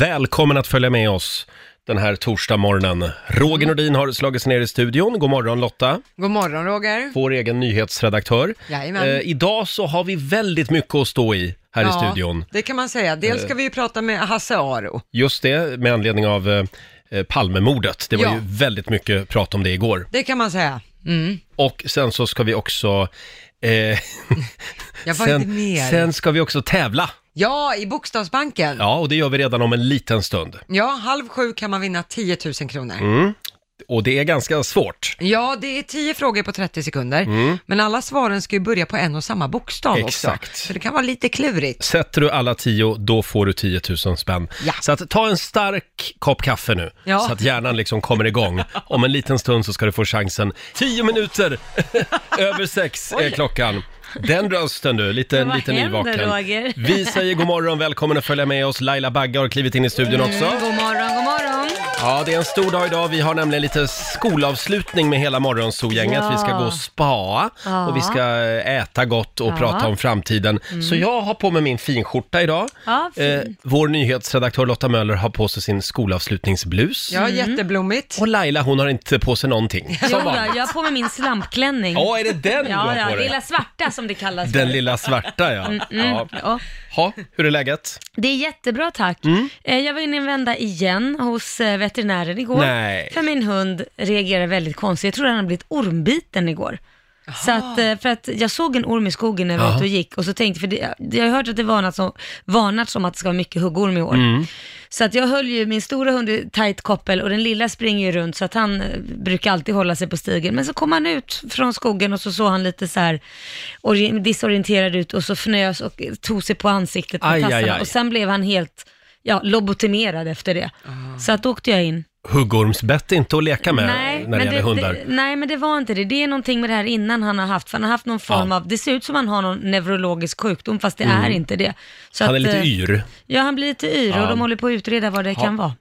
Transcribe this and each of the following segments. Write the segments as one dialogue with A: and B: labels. A: Välkommen att följa med oss den här torsdag morgonen. Roger Nordin har slagit sig ner i studion. God morgon Lotta,
B: God morgon Roger.
A: vår egen nyhetsredaktör. Eh,
B: Jajamän.
A: idag så har vi väldigt mycket att stå i här i studion. Eh.
B: det kan man säga. Dels ska vi ju prata med Hasse Aro.
A: Just det, med anledning av eh, eh, Palmemordet. Det var
B: Ja.
A: ju väldigt mycket prat om det igår.
B: Det kan man säga. Mm.
A: Och sen så ska vi också... Eh,
B: Jag var inte
A: sen,
B: mer.
A: sen ska vi också tävla.
B: Ja, i Bokstavsbanken. Ja.
A: Ja, och det gör vi redan om en liten stund.
B: halv sju kan man vinna 10 000 kronor.
A: Mm. Och det är ganska svårt.
B: Ja, det är 10 frågor på 30 sekunder,
A: Mm.
B: men alla svaren ska ju börja på en och samma bokstav
A: Exakt.
B: också. Så det kan vara lite klurigt.
A: Sätter du alla tio, då får du 10 000 spänn.
B: Ja.
A: Så att ta en stark kopp kaffe nu,
B: Ja.
A: så att hjärnan liksom kommer igång. Om en liten stund så ska du få chansen. 10 minuter över sex är klockan. Den rösten du, lite,
C: Men vad
A: lite
C: händer,
A: nyvaken.
C: Roger?
A: Vi säger god morgon, välkommen att följa med oss. Laila Bagge har klivit in i
C: Mm.
A: studion också.
C: God morgon, god morgon.
A: Ja, det är en stor dag idag. Vi har nämligen lite skolavslutning med hela morgonzoo-gänget.
C: Ja.
A: Vi ska gå och spa
C: Ja.
A: och vi ska eh, äta gott och
C: Ja. Mm.
A: prata om framtiden. Så jag har på mig min finskjorta idag.
C: Ja, fin.
A: Eh, vår nyhetsredaktör Lotta Möller har på sig sin skolavslutningsblus.
B: Ja,
C: Mm.
B: jätteblommigt.
A: Och Laila, hon har inte på sig någonting.
C: Jo
A: Som
C: då,
A: vanligt.
C: jag har på mig min slampklänning.
A: Ja, är det den du
C: ja,
A: har
C: ja,
A: på dig?
C: lilla svarta som det kallas.
A: Den
C: för.
A: lilla svarta, ja. ja.
C: Mm, Ja.
A: Ha, hur är läget?
C: Det är jättebra tack.
A: Mm.
C: Eh, Jag var inne en vända igen hos eh, veterinären igår.
A: Nej.
C: För min hund reagerar väldigt konstigt. Jag tror han har blivit ormbiten igår. Så att, eh, för att jag såg en orm i skogen när jag var
A: Jaha.
C: ute och gick och så tänkte, för det, jag har hört att det varnats om, varnats om att det ska vara mycket huggorm i år.
A: Mm.
C: Så att jag höll ju min stora hund i tight koppel och den lilla springer ju runt så att han eh, brukar alltid hålla sig på stigen. Men så kom han ut från skogen och så såg han lite så här ori- disorienterad ut och så fnös och tog sig på ansiktet med
A: Aj, aj,
C: tassarna
A: aj.
C: och sen blev han helt ja, lobotomerad efter det. Så att då åkte jag in.
A: Huggormsbett är inte att leka Ah. med när det
C: men
A: gäller hundar.
C: Det, nej, men det var inte det. Det är någonting med det här innan han har haft, för han har haft någon form
A: Ja. Mm.
C: av, det ser ut som han har någon neurologisk sjukdom, fast det är inte det. Så
A: Han är
C: att,
A: lite
C: eh,
A: yr.
C: Ja, han blir lite yr
A: Ja.
C: och de håller på att utreda vad det kan vara.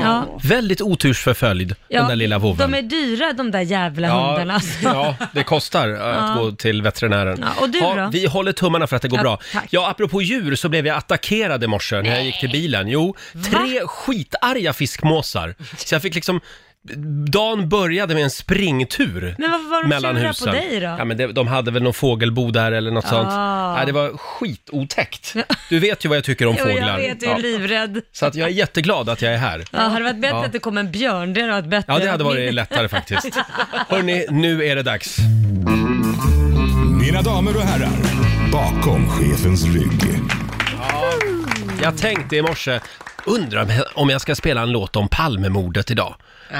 C: Ja.
A: Väldigt otursförföljd, den
C: Ja,
A: där lilla vovven.
C: De är dyra de där jävla hundarna. Alltså.
A: ja, det kostar eh, att gå till veterinären.
C: Ja, och du då?
A: Vi håller tummarna för att det går
C: Ja,
A: bra.
C: tack.
A: Ja, apropå djur så blev jag attackerad i morse när jag gick till bilen. Jo, tre skitarga fiskmåsar. Så jag fick liksom Dagen började med en springtur
C: Men varför var de
A: mellan
C: sura på
A: husen.
C: dig då?
A: Ja, men det, de hade väl någon fågelbo där eller något sånt.
C: Ah.
A: Nej, det var skitotäckt. Du vet ju vad jag tycker om
C: Jo,
A: fåglar.
C: jag vet, du är
A: Ja.
C: livrädd.
A: Så att jag är jätteglad att jag är här.
C: Ja, hade det varit bättre
A: Ja.
C: att det kom en björn, det hade varit bättre.
A: Ja, det hade
C: Min-
A: varit lättare faktiskt. Hörni, nu är det dags.
D: Mina damer och herrar, bakom chefens rygg.
A: Jag tänkte i morse, undrar om- om jag ska spela en låt om Palmemordet idag.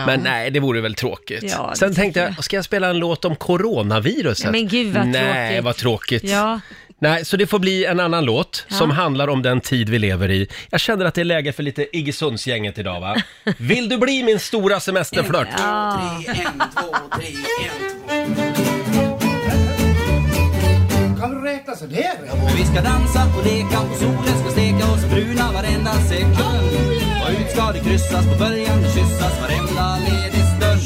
A: Men nej, det vore väl tråkigt.
C: Ja, det
A: Sen tänkte
C: tycker
A: jag, ska jag spela en låt om coronaviruset?
C: Ja, men gud, vad
A: Nej,
C: tråkigt.
A: vad tråkigt.
C: Ja.
A: Nej, så det får bli en annan låt som handlar om den tid vi lever i. Jag känner att det är läge för lite Iggesundsgänget idag va? Vill du bli min stora semesterflört?
C: Ja.
E: Kan du räkna sådär?
F: Och vi ska dansa och leka och solen ska steka oss bruna varenda sekund Och ut ska det kryssas på början och kyssas varenda ledig stund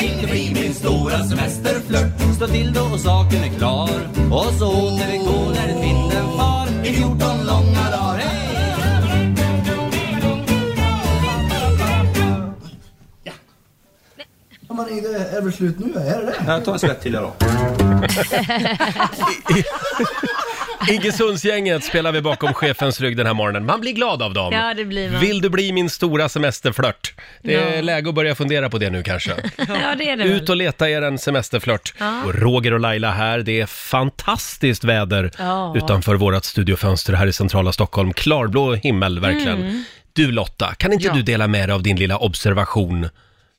F: Vill det bli min stora semesterflört? Stå till då och saken är klar Och så åter vi går när vinden far i 14 långa dagar Hej!
E: Ja, men är det, är det slut nu? Är det det?
F: Jag tar en svett till er då
A: Iggesundsgänget spelar vi bakom chefens rygg den här morgonen. Man blir glad av dem.
C: Ja, det blir man.
A: Vill du bli min stora semesterflört? Det är
C: Ja.
A: läge att börja fundera på det nu kanske.
C: ja, det är det
A: Ut
C: väl.
A: och leta er en semesterflört.
C: Ja.
A: Och Roger och Laila här. Det är fantastiskt väder
C: Ja.
A: utanför vårt studiofönster här i centrala Stockholm. Klarblå himmel verkligen.
C: Mm.
A: Du Lotta, kan inte
B: Ja.
A: du dela med dig av din lilla observation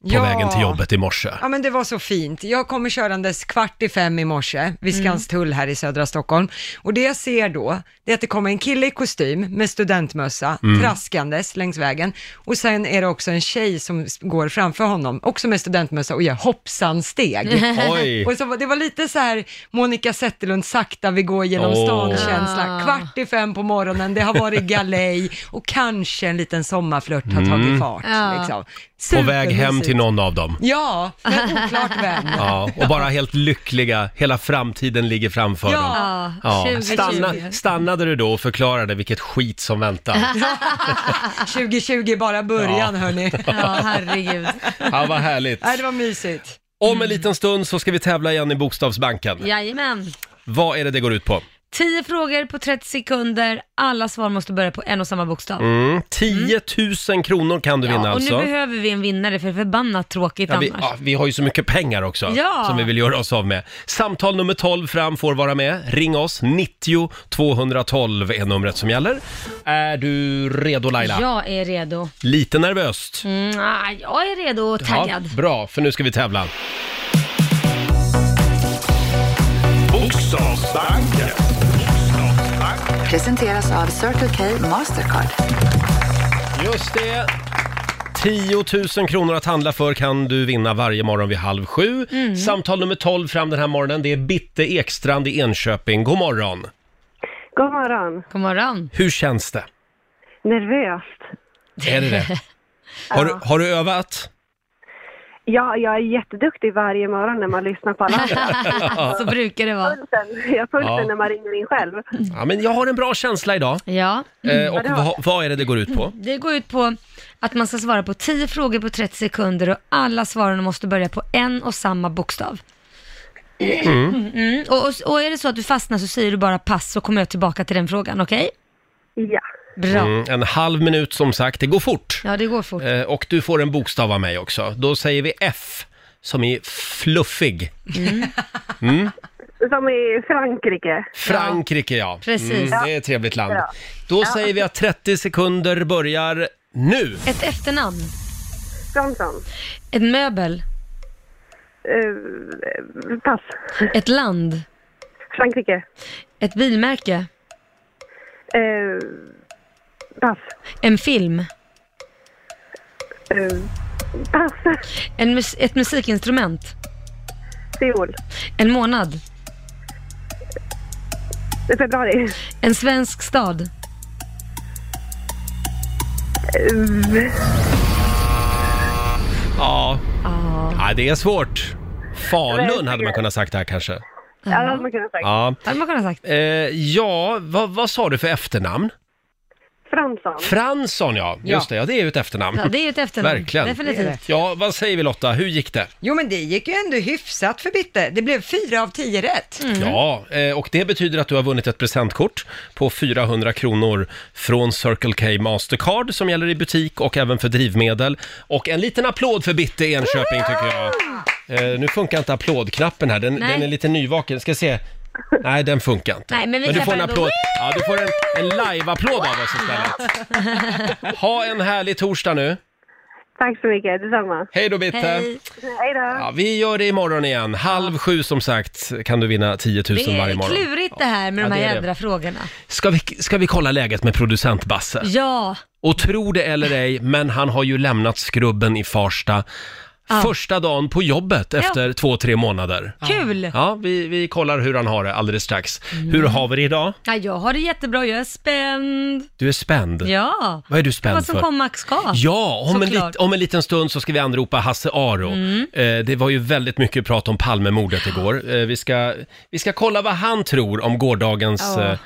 A: på
B: Ja.
A: vägen till jobbet i morse?
B: Ja men det var så fint. Jag kommer körandes kvart i fem i morse vid
A: Mm.
B: Skanstull här i södra Stockholm. Och det jag ser då, det är att det kommer en kille i kostym med studentmössa,
A: Mm.
B: traskandes längs vägen. Och sen är det också en tjej som s- går framför honom, också med studentmössa och gör hoppsansteg.
A: Oj!
B: Och så, var- det var lite så här Monica Zetterlund sakta vi går genom
A: Åh.
B: stan-känsla.
C: Ah.
B: Kvart i fem på morgonen, det har varit
A: Mm.
B: galej och kanske en liten sommarflört har tagit fart.
C: Ja.
B: Liksom.
A: På väg hem
B: Supermysigt.
A: till någon av dem.
B: Ja, men oklart vem.
A: Ja, och bara helt lyckliga, hela framtiden ligger framför dem.
C: Ja,
A: Ja.
C: 2020.
A: Stanna, stannade du då och förklarade vilket skit som väntar?
B: 2020 är bara början hörni.
C: Ja, herregud.
A: Ja, vad härligt.
B: Nej, det var mysigt.
A: Om en liten stund så ska vi tävla igen i Bokstavsbanken.
C: Jajamän.
A: Vad är det det går ut på?
C: 10 frågor på 30 sekunder. Alla svar måste börja på en och samma bokstav.
A: Mm, 10 000 kronor kan du vinna
C: Ja, och nu
A: alltså.
C: behöver vi en vinnare för det är förbannat tråkigt
A: Ja, vi,
C: annars.
A: ja, vi har ju så mycket pengar också
C: Ja.
A: som vi vill göra oss av med. Samtal nummer 12 fram får vara med. Ring oss, 90 212 är numret som gäller. Är du redo Laila?
C: Jag är redo.
A: Lite nervöst.
C: Mm, ah, jag är redo och taggad.
A: Ja, bra, för nu ska vi tävla.
D: Bokstavsbanken.
G: Presenteras av Circle K Mastercard.
A: Just det! 10 000 kronor att handla för kan du vinna varje morgon vid halv sju.
C: Mm.
A: Samtal nummer 12 fram den här morgonen, det är Bitte Ekstrand i Enköping. God morgon!
H: God morgon.
C: God morgon.
A: Hur känns det?
H: Nervöst.
A: Är det det? Har, du- har du övat?
H: Ja, jag är jätteduktig varje morgon när man lyssnar på alla andra.
C: Så brukar det vara.
H: Pulsen- Jag har pulsen
A: Ja.
H: när man ringer in själv.
A: Ja, men jag har en bra känsla idag.
C: Ja. Mm.
A: Eh, och vad, vad är det det går ut på?
C: Det går ut på att man ska svara på 10 frågor på 30 sekunder och alla svaren måste börja på en och samma bokstav. Mm. Och, och, och är det så att du fastnar så säger du bara pass så kommer jag tillbaka till den frågan, okej?
H: Ja.
C: Bra.
A: Mm, en halv minut som sagt, det går fort.
C: Ja, det går fort.
A: Eh, och du får en bokstav av mig också. Då säger vi F, som är fluffig.
C: Mm.
A: Mm.
H: Som i Frankrike.
A: Frankrike ja.
C: Precis.
A: Mm, det är ett trevligt land. Då säger vi att 30 sekunder börjar nu.
C: Ett efternamn,
H: Fransson.
C: ett möbel,
H: Eh, pass.
C: ett land,
H: Frankrike.
C: ett bilmärke,
H: Eh, pass.
C: en film,
H: Eh, pass.
C: en mus- ett musikinstrument,
H: Seoul.
C: en månad,
H: Eh, Februari.
C: en svensk stad,
A: Ja. ja, det är svårt. Falun hade man kunnat sagt här kanske.
H: Ja, det hade man kunnat säga.
A: Ja,
C: hade man kunnat sagt.
A: eh, ja vad, vad sa du för efternamn?
H: Fransson.
A: Fransson ja, just det, ja, det är ju ett efternamn.
C: Ja, det är ju ett efternamn.
A: Verkligen.
C: Definitivt.
A: Ja, vad säger vi Lotta, hur gick det?
B: Jo men det gick ju ändå hyfsat för Bitte. Det blev fyra av tio rätt.
C: Mm.
A: Ja, eh, och det betyder att du har vunnit ett presentkort på 400 kronor från Circle K Mastercard som gäller i butik och även för drivmedel. Och en liten applåd för Bitte i Enköping tycker jag. Eh, nu funkar inte applådknappen här, den,
C: Nej.
A: den är lite nyvaken. Ska se. Nej, den funkar inte.
C: Nej, men vi
A: du får en
C: klappar ändå.
A: applåd. Ja, du får en, en live-applåd av oss istället. Ha en härlig torsdag nu.
H: Tack så mycket. Detsamma.
A: Hej då Bitte!
C: Hej.
H: Hej då.
A: Ja, vi gör det imorgon igen. Halv sju som sagt kan du vinna 10 000
C: Det
A: varje
C: är
A: morgon.
C: klurigt det här med
A: Ja,
C: de
A: det är
C: här
A: det.
C: jädra frågorna.
A: Ska vi, ska vi kolla läget med producent Basse?
C: Ja,
A: Och tro det eller ej, men han har ju lämnat skrubben i Farsta första dagen på jobbet efter två, tre månader.
C: kul! Mm.
A: Ja, vi, vi kollar hur han har det alldeles strax. Hur har vi det idag?
C: Ja, jag har det jättebra, jag är spänd.
A: Du är spänd.
C: Ja.
A: Vad är du
C: Vad
A: spänd
C: som
A: för?
C: komma ska.
A: Ja, om en,
C: Såklart. Mm.
A: lit, om en liten stund så ska vi anropa Hasse Aro. Eh, det var ju väldigt mycket prat om Palmemordet igår. Eh, vi, ska, vi ska kolla vad han tror om gårdagens
C: Ja. Mm.
A: eh,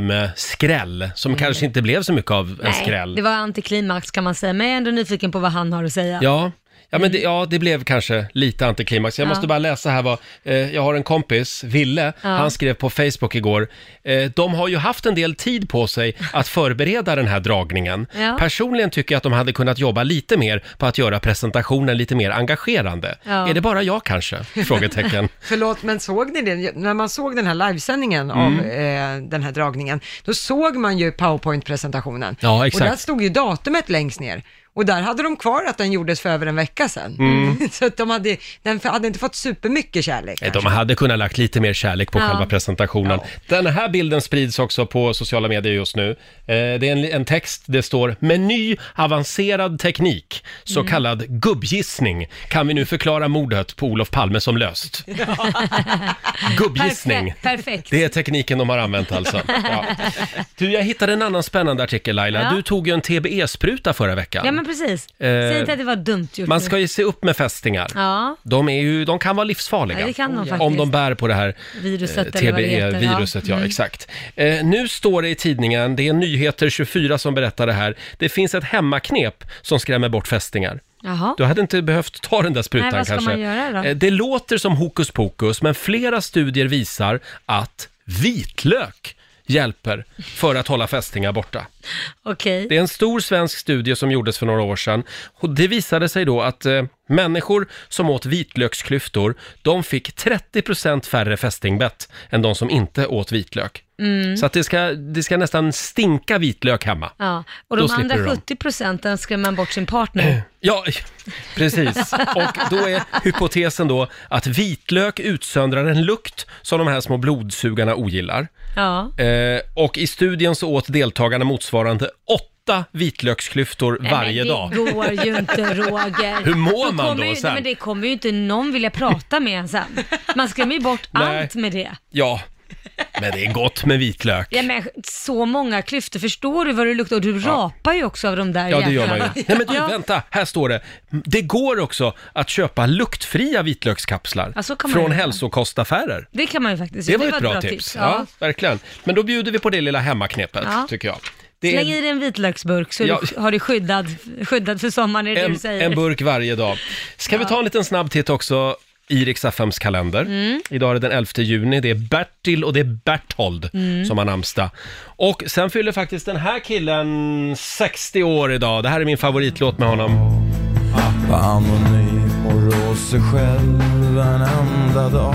A: Palme-skräll, som kanske inte blev så mycket av en skräll.
C: Nej, det var antiklimax kan man säga, men jag är ändå nyfiken på vad han har att säga. Mm.
A: Ja, ja, men det, ja, det blev kanske lite antiklimax. Jag måste bara läsa här vad, eh, jag har en kompis, Ville, han skrev på Facebook igår, eh, de har ju haft en del tid på sig att förbereda den här dragningen.
C: Ja.
A: Personligen tycker jag att de hade kunnat jobba lite mer på att göra presentationen lite mer engagerande.
C: Ja.
A: Är det bara jag kanske? Frågetecken.
B: Förlåt, men såg ni det? När man såg den här livesändningen
A: Mm.
B: av eh, den här dragningen, då såg man ju PowerPoint-presentationen.
A: Ja,
B: Och
A: exakt.
B: där stod ju datumet längst ner. Och där hade de kvar att den gjordes för över en vecka sedan. Så att de hade, den hade inte fått supermycket kärlek.
A: Mm. Nej,
B: kanske.
A: Eh, De hade kunnat lagt lite mer kärlek på
C: Ja.
A: själva presentationen. Den här bilden sprids också på sociala medier just nu. Eh, det är en, en text, det står “Med ny avancerad teknik, så
C: Mm.
A: kallad gubbgissning, kan vi nu förklara mordet på Olof Palme som löst”. gubbgissning.
C: Perfe- perfekt.
A: Det är tekniken de har använt alltså. Ja. Du, jag hittade en annan spännande artikel Laila.
C: Ja.
A: Du tog ju en TBE-spruta förra veckan.
C: Ja, men precis.
A: Eh,
C: Säg inte att det var dumt gjort.
A: Man
C: nu.
A: ska ju se upp med fästingar.
C: Ja,
A: De, är ju, de kan vara livsfarliga.
C: Ja, det kan de faktiskt.
A: om de bär på det här
C: viruset
A: Eh,
C: eller vad det heter. Mm.
A: TBE-viruset. E Ja, exakt. Eh, nu står det i tidningen, det är Nyheter 24 som berättar det här. Det finns ett hemmaknep som skrämmer bort fästingar.
C: Jaha.
A: Du hade inte behövt ta den där sprutan
C: Nej, vad ska
A: kanske.
C: man göra då?
A: Eh, Det låter som hokus pokus, men flera studier visar att vitlök hjälper för att hålla fästingar borta.
C: Okej.
A: Det är en stor svensk studie som gjordes för några år sedan. Och det visade sig då att eh, människor som åt vitlöksklyftor, de fick 30% färre fästingbett än de som inte åt vitlök.
C: Mm.
A: Så att det, ska, det ska nästan stinka vitlök hemma.
C: Ja. Och
A: Då
C: de
A: slipper
C: andra
A: du dem. Eh.
C: 70 procenten skrämmer man bort sin partner.
A: Ja, precis. Och då är hypotesen då att vitlök utsöndrar en lukt som de här små blodsugarna ogillar.
C: Ja.
A: Eh, och i studien så åt deltagarna motsvarande åtta vitlöksklyftor varje
C: men
A: dag.
C: Det går ju inte Roger.
A: Hur mår man
C: kommer
A: då
C: ju,
A: sen?
C: Nej, men det kommer ju inte någon vilja prata med en sen. Man skrämmer ju bort
A: Nej.
C: allt med det.
A: Ja, men det är gott med vitlök.
C: Ja, men så många klyftor, förstår du vad det luktar? Och du rapar ju också av de där
A: Ja, det gör man ju.
C: jäklarna.
A: Nej, men du,
C: Ja.
A: vänta, här står det. Det går också att köpa luktfria vitlökskapslar
C: Ja, så kan man
A: från
C: göra.
A: hälsokostaffärer.
C: Det kan man ju faktiskt
A: Det
C: göra.
A: var ett
C: ett
A: bra tips. Ja, verkligen. Men då bjuder vi på det lilla hemmaknepet,
C: Ja.
A: tycker jag. Det
C: Släng
A: är
C: i dig en vitlöksburk så
A: Ja.
C: du har du skyddad, skyddad för sommaren, är det det
A: en,
C: du säger.
A: en burk varje dag. Ska vi ta en liten snabb titt också i Rix FMs kalender.
C: Mm.
A: Idag är det den 11 juni. Det är Bertil och det är Berthold
C: Mm.
A: som har namnsdag. Och sen fyller faktiskt den här killen 60 år idag. Det här är min favoritlåt med honom.
E: Anonym och rå sig själv en enda dag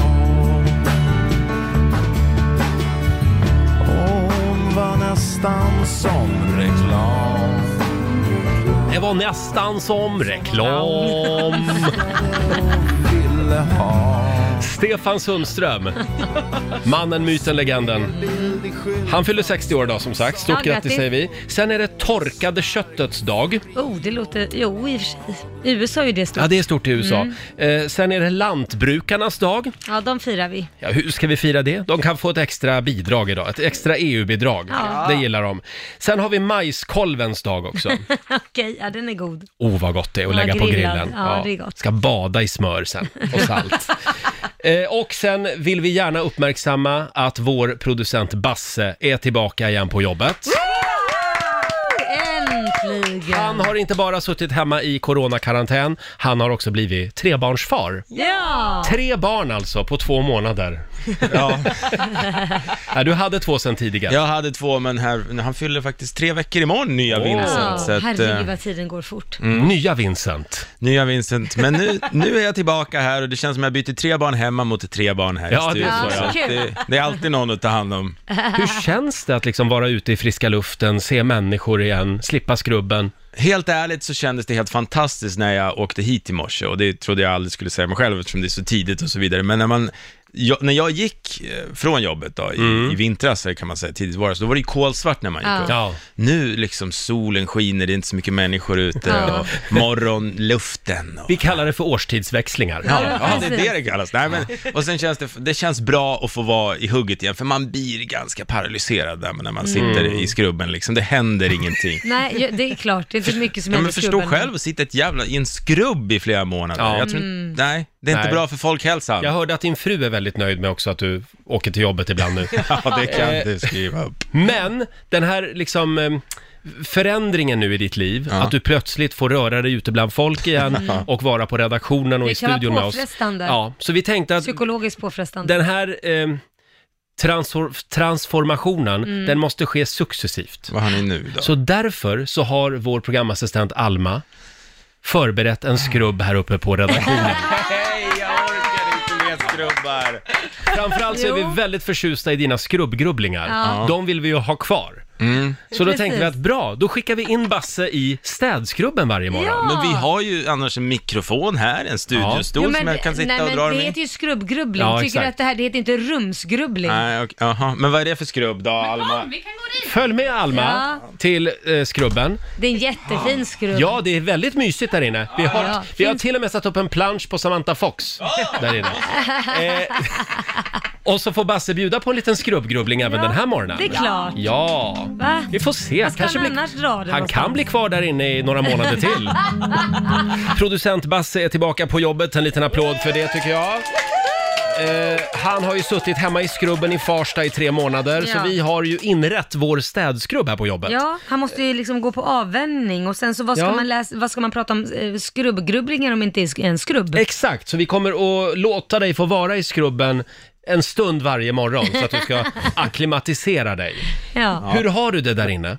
E: Hon var nästan som reklam
A: Det var nästan som reklam.
E: ville ha
A: Stefan Sundström. Mannen, myten, legenden. Han fyller 60 år idag som sagt. Stort
C: Ja,
A: grattis
C: grattis.
A: säger vi. Sen är det torkade köttets dag.
C: Oh, det låter... Jo, i och för sig. I USA är ju det stort.
A: Ja,
C: Ja,
A: det är stort i USA.
C: Mm.
A: Eh, sen är det lantbrukarnas dag.
C: de firar vi.
A: Ja, hur ska vi fira det? De kan få ett extra bidrag idag, ett extra EU-bidrag.
C: Ja.
A: Det gillar de. Sen har vi majskolvens dag också.
C: Okej, ja den är god.
A: Oh, vad gott det är att
C: Ja,
A: lägga på
C: grillad.
A: grillen.
C: Ja, det är gott.
A: Ska bada i smör sen och salt. eh, och sen vill vi gärna uppmärksamma att vår producent Basse är tillbaka igen på jobbet.
C: Äntligen!
A: Han har inte bara suttit hemma i coronakarantän, han har också blivit trebarnsfar.
C: Ja!
A: Tre barn alltså på två månader. Ja. Nej, du hade två sen tidigare.
I: Jag hade två, men här, han fyller faktiskt tre veckor imorgon, nya Vincent. Så
C: Ja,
I: att, eh,
C: herregud vad tiden går fort.
A: Nya Vincent.
I: nya Vincent. Men nu, nu är jag tillbaka här och det känns som jag byter tre barn hemma mot tre barn här
A: Ja,
I: i
A: det är
I: studion.
A: så, ja.
I: att det, det är alltid någon att ta hand om.
A: Hur känns det att liksom vara ute i friska luften, se människor igen, slippa skrubben?
I: Helt ärligt så kändes det helt fantastiskt när jag åkte hit i morse och det trodde jag aldrig skulle säga mig själv eftersom det är så tidigt och så vidare. Men när, man, jag, när jag gick eh, från jobbet då, i, i vintras eller kan man säga, tidigt våras, då var det ju kolsvart när man gick
C: Ja.
I: upp.
A: Mm. Ja.
I: Nu liksom solen skiner, det är inte så mycket människor ute
C: Ja.
I: och morgonluften. Och...
A: Vi kallar det för årstidsväxlingar.
I: Ja,
C: Ja,
I: ja, det är
C: precis.
I: det det kallas. Nej, men, och sen känns det, det känns bra att få vara i hugget igen, för man blir ganska paralyserad där, men när
A: Mm.
I: man sitter i skrubben. Liksom. Det händer ingenting.
C: Nej, ju- det är klart. Det är inte mycket som
I: Ja,
C: händer
I: men
C: i
I: förstå
C: skrubben.
I: själv att sitta ett jävla, i en skrubb i flera månader.
A: Ja. Mm.
I: Jag tror, inte- Nej, det är inte
A: Nej.
I: bra för folkhälsan.
A: Jag hörde att din fru är väldigt nöjd med också att du åker till jobbet ibland nu. Eh,
I: Ja, det kan du skriva upp.
A: Men den här liksom eh, förändringen nu i ditt liv, att du plötsligt får röra dig ute bland folk igen och vara på redaktionen och
C: Det
A: i
C: kan vara
A: studion med oss.
C: påfrestande.
A: Ja, så vi tänkte att
C: Psykologiskt påfrestande.
A: den här eh, transfor- transformationen,
C: Mm.
A: den måste ske successivt.
I: Vad har ni nu då?
A: Så därför så har vår programassistent Alma förberett en skrubb här uppe på redaktionen.
I: Hej, jag orkar inte mer skrubbar.
A: Framförallt så är vi
C: Jo.
A: väldigt förtjusta i dina skrubbgrubblingar. Mm.
C: Ja.
A: De vill vi ju ha kvar. Så då
C: Precis.
A: tänkte vi att bra, då skickar vi in Basse i städskrubben varje morgon.
C: Ja.
I: Men vi har ju annars en mikrofon här, en studiostol
C: Jo,
I: som jag kan sitta
C: nej,
I: och
C: men
I: dra
C: Det
I: mig
C: heter
I: i.
C: ju skrubbgrubbling.
A: Ja,
C: Tycker du
A: exakt.
C: att det här det heter inte rumsgrubbling?
I: Nej, okej, aha. Men vad är det för skrubb då, Alma?
A: Följ med Alma till eh, skrubben.
C: Det är en jättefin skrubb.
A: Ja, det är väldigt mysigt där inne. Vi har,
C: Ja. Ah!
A: vi har till och med satt upp en plansch på Samantha Fox där inne. Eh, Och så får Basse bjuda på en liten skrubbgrubbling även
C: Ja,
A: den här morgonen.
C: det är klart.
A: Ja,
C: Va?
A: vi får se.
C: Vad ska
A: Kanske
C: han
A: blir-
C: annars dra det
A: Han kan
C: någonstans?
A: bli kvar där inne i några månader till. Producent Basse är tillbaka på jobbet. En liten applåd för det tycker jag. Eh, han har ju suttit hemma i skrubben i Farsta i tre månader,
C: Ja.
A: så vi har ju inrett vår städskrubb här på jobbet.
C: Ja, han måste ju liksom gå på avvänjning och sen så vad ska,
A: Ja.
C: man, läsa, vad ska man prata om eh, skrubbgrubblingar om inte är en skrubb?
A: Exakt, så vi kommer att låta dig få vara i skrubben en stund varje morgon så att du ska akklimatisera dig.
C: Ja.
A: Hur har du det där inne?
I: Nej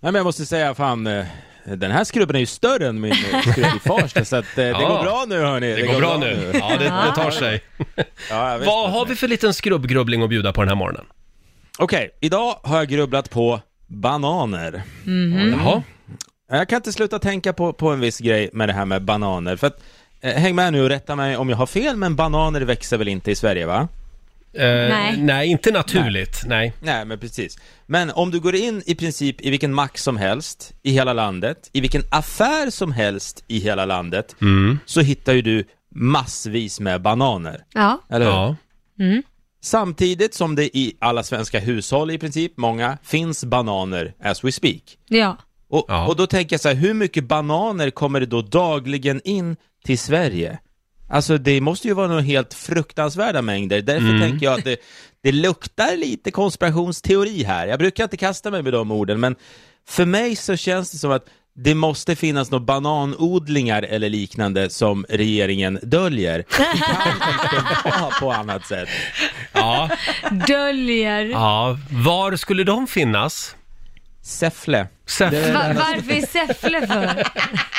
I: men jag måste säga fan, eh, den här skrubben är ju större än min eh, skrubb i Farsta så att eh, det
A: Ja.
I: går bra nu hörni.
A: Det går bra nu. Ja, det, det tar sig.
I: Ja, jag vet
A: Vad
I: inte.
A: har vi för liten skrubbgrubbling att bjuda på den här morgonen?
I: Okej, idag har jag grubblat på bananer.
A: Mm.
I: Mm.
A: Jaha.
I: Jag kan inte sluta tänka på, på en viss grej med det här med bananer för att eh, Häng med nu och rätta mig om jag har fel, men bananer växer väl inte i Sverige va?
A: Eh,
C: Nej.
A: nej, inte naturligt. Nej.
I: Nej, men precis. Men om du går in i princip i vilken mack som helst i hela landet, i vilken affär som helst i hela landet, så hittar ju du massvis med bananer.
C: Ja.
I: Eller hur?
A: Ja.
I: Samtidigt som det i alla svenska hushåll i princip, många, finns bananer as we speak.
C: ja.
I: Och,
A: Ja.
I: och då tänker jag så här, hur mycket bananer kommer det då dagligen in till Sverige? Alltså det måste ju vara några helt fruktansvärda mängder. Därför tänker jag att det, det luktar lite konspirationsteori här. Jag brukar inte kasta mig med de orden, men för mig så känns det som att det måste finnas några bananodlingar eller liknande som regeringen döljer. Det kan inte vara på annat sätt.
A: Ja.
C: Döljer.
A: ja. Var skulle de finnas?
I: Säffle.
A: Säffle.
C: Va, varför är Säffle för?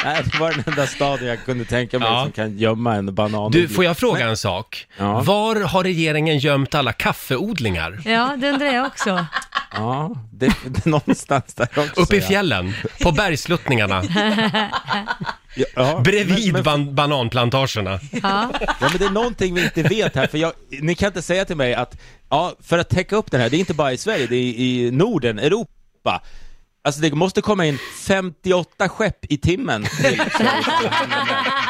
I: Nej, det var den enda staden jag kunde tänka mig
A: Ja.
I: som kan gömma en banan.
A: Du, får jag fråga en sak?
I: Ja.
A: Var har regeringen gömt alla kaffeodlingar?
C: Ja, det undrar jag också.
I: Ja, det, det är någonstans där också.
A: Uppe i fjällen, på bergsluttningarna,
I: Ja, ja.
A: bredvid
I: Men, men,
A: ban- bananplantagerna.
C: Ja.
I: ja, men det är någonting vi inte vet här, för jag, ni kan inte säga till mig att, ja, för att täcka upp den här, det är inte bara i Sverige, det är i Norden, Europa. Alltså det måste komma in 58 skepp i timmen till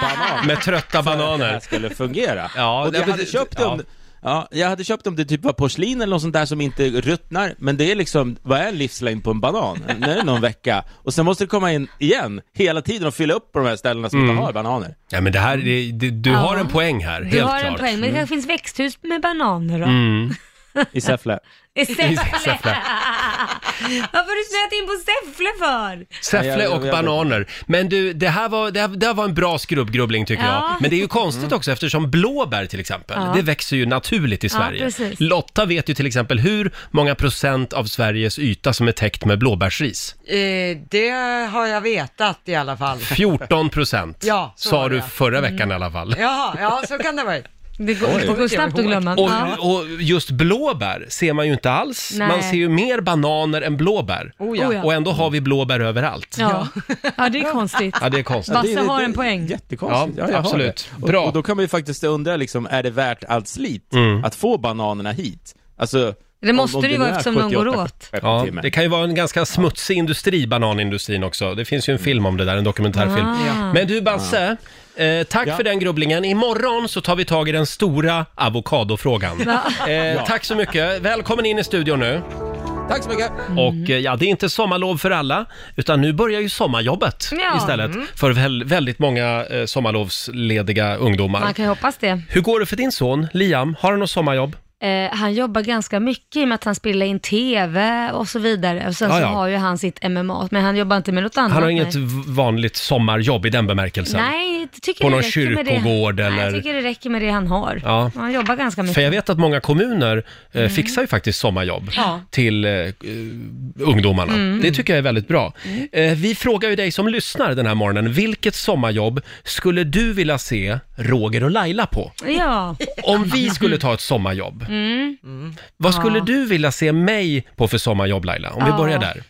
I: banan.
A: Med trötta
I: det här
A: bananer.
I: skulle fungera.
A: Ja,
I: och
A: nej,
I: jag
A: men
I: hade
A: det-
I: köpt om, ja. jag hade köpt om det typ var porslin eller något sånt där som inte ruttnar, men det är liksom, vad är en livslängd på en banan? Nu är det någon vecka, och sen måste det komma in igen, hela tiden och fylla upp på de här ställena som
A: Mm.
I: inte har bananer.
A: Ja, men det här, det, det, du
C: Ja.
A: har en poäng här,
C: Du
A: helt
C: har
A: klart. Mm.
C: en poäng, men det kanske finns växthus med bananer då?
I: I Säffle.
C: I
A: Säffle.
C: Säffle. Varför har du snöat in på Säffle för?
I: Ja,
A: Säffle
I: jag-
A: och
I: jag vet.
A: bananer. Men du, det här var, det här, det här var en bra skrubbgrubbling tycker
C: Ja.
A: jag. Men det är ju konstigt
I: Mm.
A: också eftersom blåbär till exempel,
C: Ja.
A: det växer ju naturligt i
C: Ja,
A: Sverige.
C: precis.
A: Lotta vet ju till exempel hur många procent av Sveriges yta som är täckt med blåbärsris.
B: Eh, det har jag vetat i alla fall.
A: 14 procent
B: Ja, så
A: sa
B: var
A: du
B: det.
A: förra veckan i alla fall.
B: Jaha, ja så kan det vara.
C: Det går, det går snabbt att glömma.
A: Och,
C: Ja.
A: och just blåbär ser man ju inte alls.
C: Nej.
A: Man ser ju mer bananer än blåbär.
B: Oh ja.
C: Oh ja.
A: Och ändå har vi blåbär överallt.
C: Ja. ja, det är konstigt.
A: Ja, det är konstigt.
C: Va? Basse har en poäng.
I: Jättekonstigt.
A: Ja,
I: jag har
A: absolut.
I: det. Och,
A: Bra. Mm.
I: och då kan man ju faktiskt undra liksom, är det värt allt slit att få bananerna hit? Alltså,
C: Det måste det ju
I: nu
C: vara
I: är
C: eftersom de går
I: 78
C: åt.
I: skepp i
A: Ja,
I: timmen.
A: det kan ju vara en ganska smutsig industri, bananindustrin också. Det finns ju en film om det där, en dokumentärfilm.
B: Ah.
A: Men du Basse, eh, tack
I: Mm. Ja.
A: för den grubblingen. Imorgon så tar vi tag i den stora avokadofrågan. Eh, Tack så mycket. Välkommen in i studion nu.
I: Tack så mycket!
C: Mm.
A: Och eh, ja, det är inte sommarlov för alla, utan nu börjar ju sommarjobbet
C: Ja. Mm.
A: istället för väl, väldigt många eh, sommarlovslediga ungdomar.
C: Man kan ju hoppas det.
A: Hur går det för din son Liam? Har han något sommarjobb?
C: Eh, han jobbar ganska mycket i och med att han spelar in TV och så vidare. Och sen
A: Ja,
C: så
A: ja.
C: har ju han sitt MMA, men han jobbar inte med något annat.
A: Han har inget
C: nej.
A: v- vanligt sommarjobb i den bemärkelsen.
C: Nej, jag tycker
A: På
C: det
A: någon
C: räcker med det-
A: kyrkogård
C: Nej,
A: eller-
C: Jag tycker det räcker med det han har.
A: Ja.
C: Han jobbar ganska mycket. Mm.
A: För jag vet att många kommuner eh, fixar ju faktiskt sommarjobb
B: Ja.
A: till eh, eh, ungdomarna.
C: Mm.
A: Det tycker jag är väldigt bra. Eh, vi frågar ju dig som lyssnar den här morgonen, vilket sommarjobb skulle du vilja se Roger och Laila på?
C: Ja, Mm.
A: Om vi skulle ta ett sommarjobb, vad skulle du vilja se mig på för sommarjobb Laila? Om vi
C: Ja.
A: börjar där.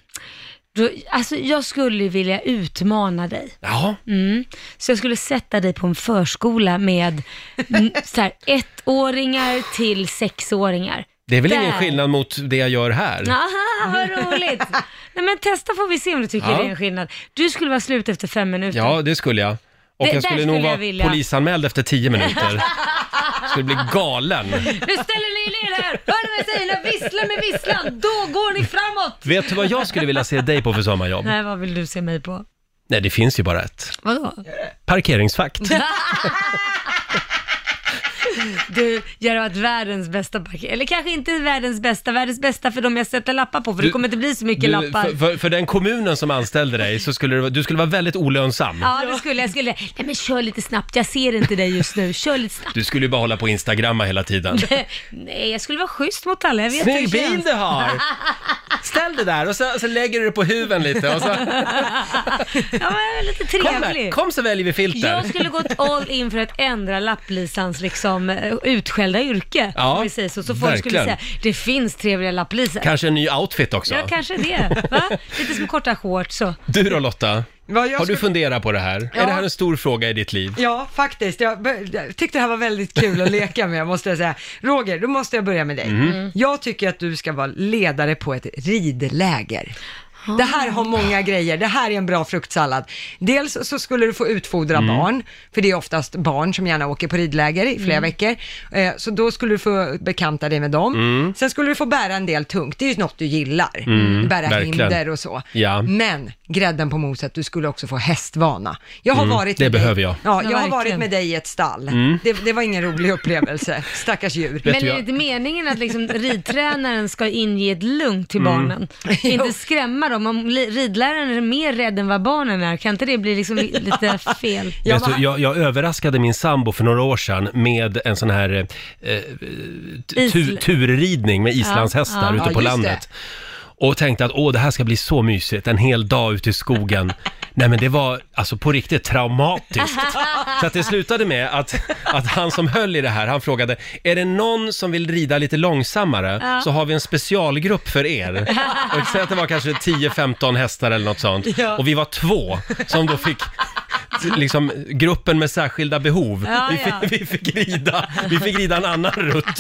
C: då, alltså jag skulle vilja utmana dig.
A: Ja,
C: Mm. Så jag skulle sätta dig på en förskola med mm, så här, ettåringar till sexåringar.
A: det är väl ingen
C: Där.
A: skillnad mot det jag gör här?
C: Aha, vad roligt! Nej men testa får vi se om du tycker
A: Ja.
C: det är en skillnad. Du skulle vara slut efter fem minuter.
A: Ja, det skulle jag. Och
C: Det-
A: jag
C: där
A: skulle
C: skulle
A: nog
C: jag
A: vara
C: vilja.
A: polisanmäld efter tio minuter. skulle bli galen.
C: Nu ställer ni er ner här! Hör ni vad jag säger? När jag visslar med visslan, då går ni framåt!
A: Vet du vad jag skulle vilja se dig på för sommarjobb?
C: Nej, vad vill du se mig på?
A: Nej, det finns ju bara ett.
C: Vadå?
A: Parkeringsvakt.
C: Du, jag har varit världens bästa parkering. Eller kanske inte världens bästa, världens bästa för de jag sätter lappar på, för
A: Du-
C: det kommer inte bli så mycket
A: Du,
C: lappar.
A: för, för, för den kommunen som anställde dig så skulle du, du skulle vara väldigt olönsam.
C: Ja, det skulle jag. Skulle. Nej, men kör lite snabbt. Jag ser inte dig just nu. Kör lite snabbt.
A: Du skulle ju bara hålla på och instagramma hela tiden.
C: Nej, jag skulle vara schysst mot alla. Jag vet
A: Snygg
C: hur
A: bil
C: känns.
A: du har! Ställ dig där och så, så lägger du dig på huven lite och så,
C: Ja, men jag är lite
A: kom, här,
C: trevlig.
A: kom så väljer vi filter.
C: Jag skulle gått all in för att ändra lapplisans liksom, eh, utskällda yrke.
A: Ja,
C: om vi säger så. så folk skulle
A: verkligen.
C: säga, det finns trevliga lapplisar.
A: Kanske en ny outfit också.
C: ja, kanske det. Va? Lite som korta shorts så.
A: Du då Lotta,
B: Vad jag
A: har du
B: skulle-
A: funderat på det här?
B: Ja.
A: Är det här en stor fråga i ditt liv?
B: Ja, faktiskt. Jag be- jag tyckte det här var väldigt kul att leka med, måste jag säga. Roger, då måste jag börja med dig.
A: Mhm.
B: Jag tycker att du ska vara ledare på ett ridläger. Det här har många grejer. Det här är en bra fruktsallad. Dels så skulle du få utfodra
A: Mm.
B: barn, för det är oftast barn som gärna åker på ridläger i
A: Mm.
B: flera veckor. Eh, Så då skulle du få bekanta dig med dem.
A: Mm.
B: Sen skulle du få bära en del tungt. Det är ju något du gillar. bära
A: verkligen.
B: hinder och så.
A: Ja.
B: Men grädden på moset, du skulle också få hästvana. Jag har varit
A: Mm, det
B: med
A: behöver
B: dig.
A: jag. Mm.
B: Ja,
C: Ja,
B: jag har varit
C: verkligen.
B: med dig i ett stall. Det, det var ingen rolig upplevelse. Stackars djur.
A: Vet
C: Men
A: du,
C: är
A: jag-
C: det inte meningen att liksom ridtränaren ska inge ett lugn till
A: Mm.
C: barnen? Inte skrämma dem. Om li- ridläraren är mer rädd än vad barnen är, kan inte det bli liksom li- lite fel?
B: Jag,
A: Vet du,
B: var,
A: jag, jag överraskade min sambo för några år sedan med en sån här eh, t- tu,
C: Isl-
A: turridning med islandshästar
C: ja.
A: ute
B: Ja,
A: på
B: just
A: landet. Och tänkte att åh, det här ska bli så mysigt, en hel dag ute i skogen. Nej men det var alltså på riktigt traumatiskt. Så att det slutade med att, att han som höll i det här, han frågade, är det någon som vill rida lite långsammare så har vi en specialgrupp för er. Och säg att det var kanske 10-15 hästar eller något sånt. Och vi var två som då fick liksom gruppen med särskilda behov.
C: Ja,
A: vi, fick,
C: ja.
A: vi, fick rida, vi fick rida en annan rutt.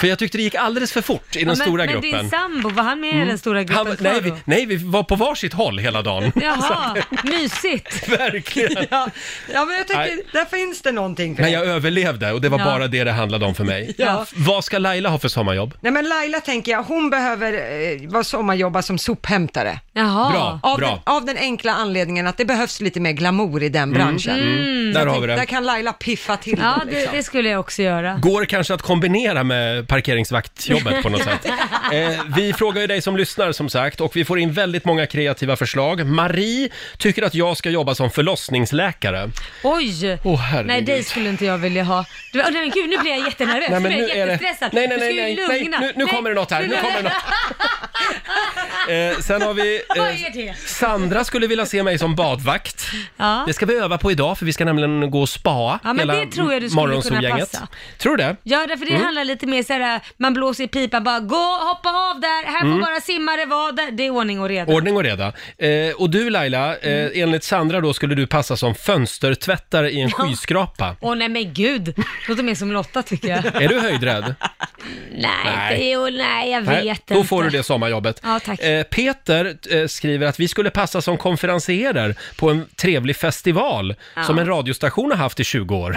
A: För jag tyckte det gick alldeles för fort i den
C: Ja, men,
A: stora
C: men
A: gruppen. Mm.
C: din sambo, var han med i den stora gruppen
A: Han,
C: kvar
A: nej, vi,
C: då?
A: nej, vi var på varsitt håll hela dagen.
C: Jaha, mysigt.
A: Verkligen.
B: ja, ja, men jag
A: Nej.
B: tycker, där finns det någonting för
A: Men
B: dig.
A: jag överlevde och det var
C: Ja.
A: bara det det handlade om för mig.
B: Ja.
A: Vad ska Laila ha för sommarjobb?
B: Nej men Laila tänker jag, hon behöver eh, vara sommarjobba som sophämtare.
C: Jaha.
A: Bra.
B: Av den, av den enkla anledningen att det behövs lite mer glamour i den branschen.
A: Mm. Där har vi
B: Där
A: det.
B: kan Laila piffa till
C: Mm. Ja,
B: den,
C: det,
B: liksom.
C: det skulle jag också göra.
A: Går kanske att kombinera med parkeringsvaktjobbet på något sätt. Eh, vi frågar ju dig som lyssnar som sagt och vi får in väldigt många kreativa förslag. Marie tycker att jag ska jobba som förlossningsläkare.
C: Oj!
A: Åh, herregud.
C: nej, det skulle inte jag vilja ha. Du, åh, nej, men gud, nu blir jag jättenervös.
A: Nej, men
C: nu
A: nu
C: blir
A: är
C: jag
A: det-
C: jättestressad.
A: Nej, nej,
C: Du ska
A: nej,
C: ju
A: nej, nej,
C: lugna.
A: nu- nu kommer det något här, nu kommer det Eh, sen har vi... eh,
C: Vad är det?
A: Sandra skulle vilja se mig som badvakt.
C: Ja.
A: Det ska vi öva på idag för vi ska nämligen gå och spa
C: Ja, men
A: hela
C: det tror jag du skulle
A: morgonsolgänget.
C: kunna passa.
A: Tror du det?
C: Ja, därför det
A: Mm.
C: handlar lite mer såhär, man blåser i pipan, bara gå, hoppa av där, här får bara simmare vara där. Det är ordning och reda.
A: Mm. Ordning och reda. Eh, och du Laila,
C: Mm.
A: eh, enligt Sandra då skulle du passa som fönstertvättare i en skyskrapa.
C: Åh nej men gud, låter mer som Lotta tycker jag.
A: Är du höjdrädd?
C: nej,
A: Nej.
C: nej. Jo, nej jag vet
A: Nej,
C: inte.
A: då får du det sommarjobbet.
C: Ja, tack.
A: Eh, Peter eh, skriver att vi skulle passa som konferenserer på en trevlig festival som en radiostation har haft i 20 år.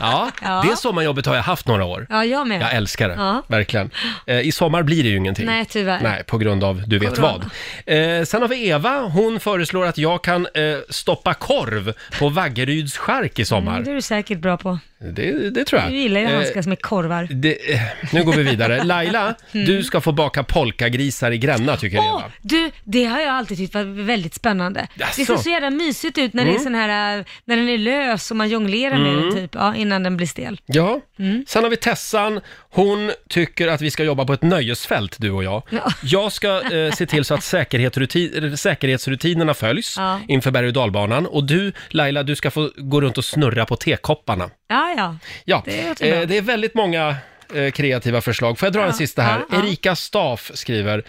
A: ja,
C: Ja.
A: det sommarjobbet har jag haft några år.
C: Ja, jag med.
A: Jag älskar det,
C: Ja.
A: verkligen. Eh, I sommar blir det ju ingenting.
C: Nej, tyvärr.
A: Nej, på grund av du vet
C: Corona.
A: vad. Eh, sen har vi Eva, hon föreslår att jag kan eh, stoppa korv på Vaggeryds skärk i sommar.
C: Det är du säkert bra på.
A: Det, det tror jag.
C: Mm, Du gillar ju att
A: Eh,
C: handskas med korvar.
A: det, eh, nu går vi vidare. Laila, du ska få baka polkagrisar i Gränna tycker
C: Mm. Åh,
A: Eva.
C: du, det har jag alltid tyckt var väldigt spännande. Det
A: Jaså? Mm.
C: ser så jävla mysigt ut när det är sån här, äh, när den är lös och man jonglerar med den typ, ja, innan den blir stel.
A: Ja.
C: Mm.
A: Sen har vi Tessan. Hon tycker att vi ska jobba på ett nöjesfält, du och jag.
C: Ja.
A: Jag ska eh, se till så att säkerhetsruti- eh, säkerhetsrutinerna följs
C: Ja.
A: inför berg och dalbanan. Och du, Laila, du ska få gå runt och snurra på tekopparna.
C: Ja, ja.
A: Ja,
C: Det låter
A: eh,
C: bra.
A: det är väldigt många eh, kreativa förslag. Får jag dra en sista här?
C: ja, ja.
A: Erika Staff skriver,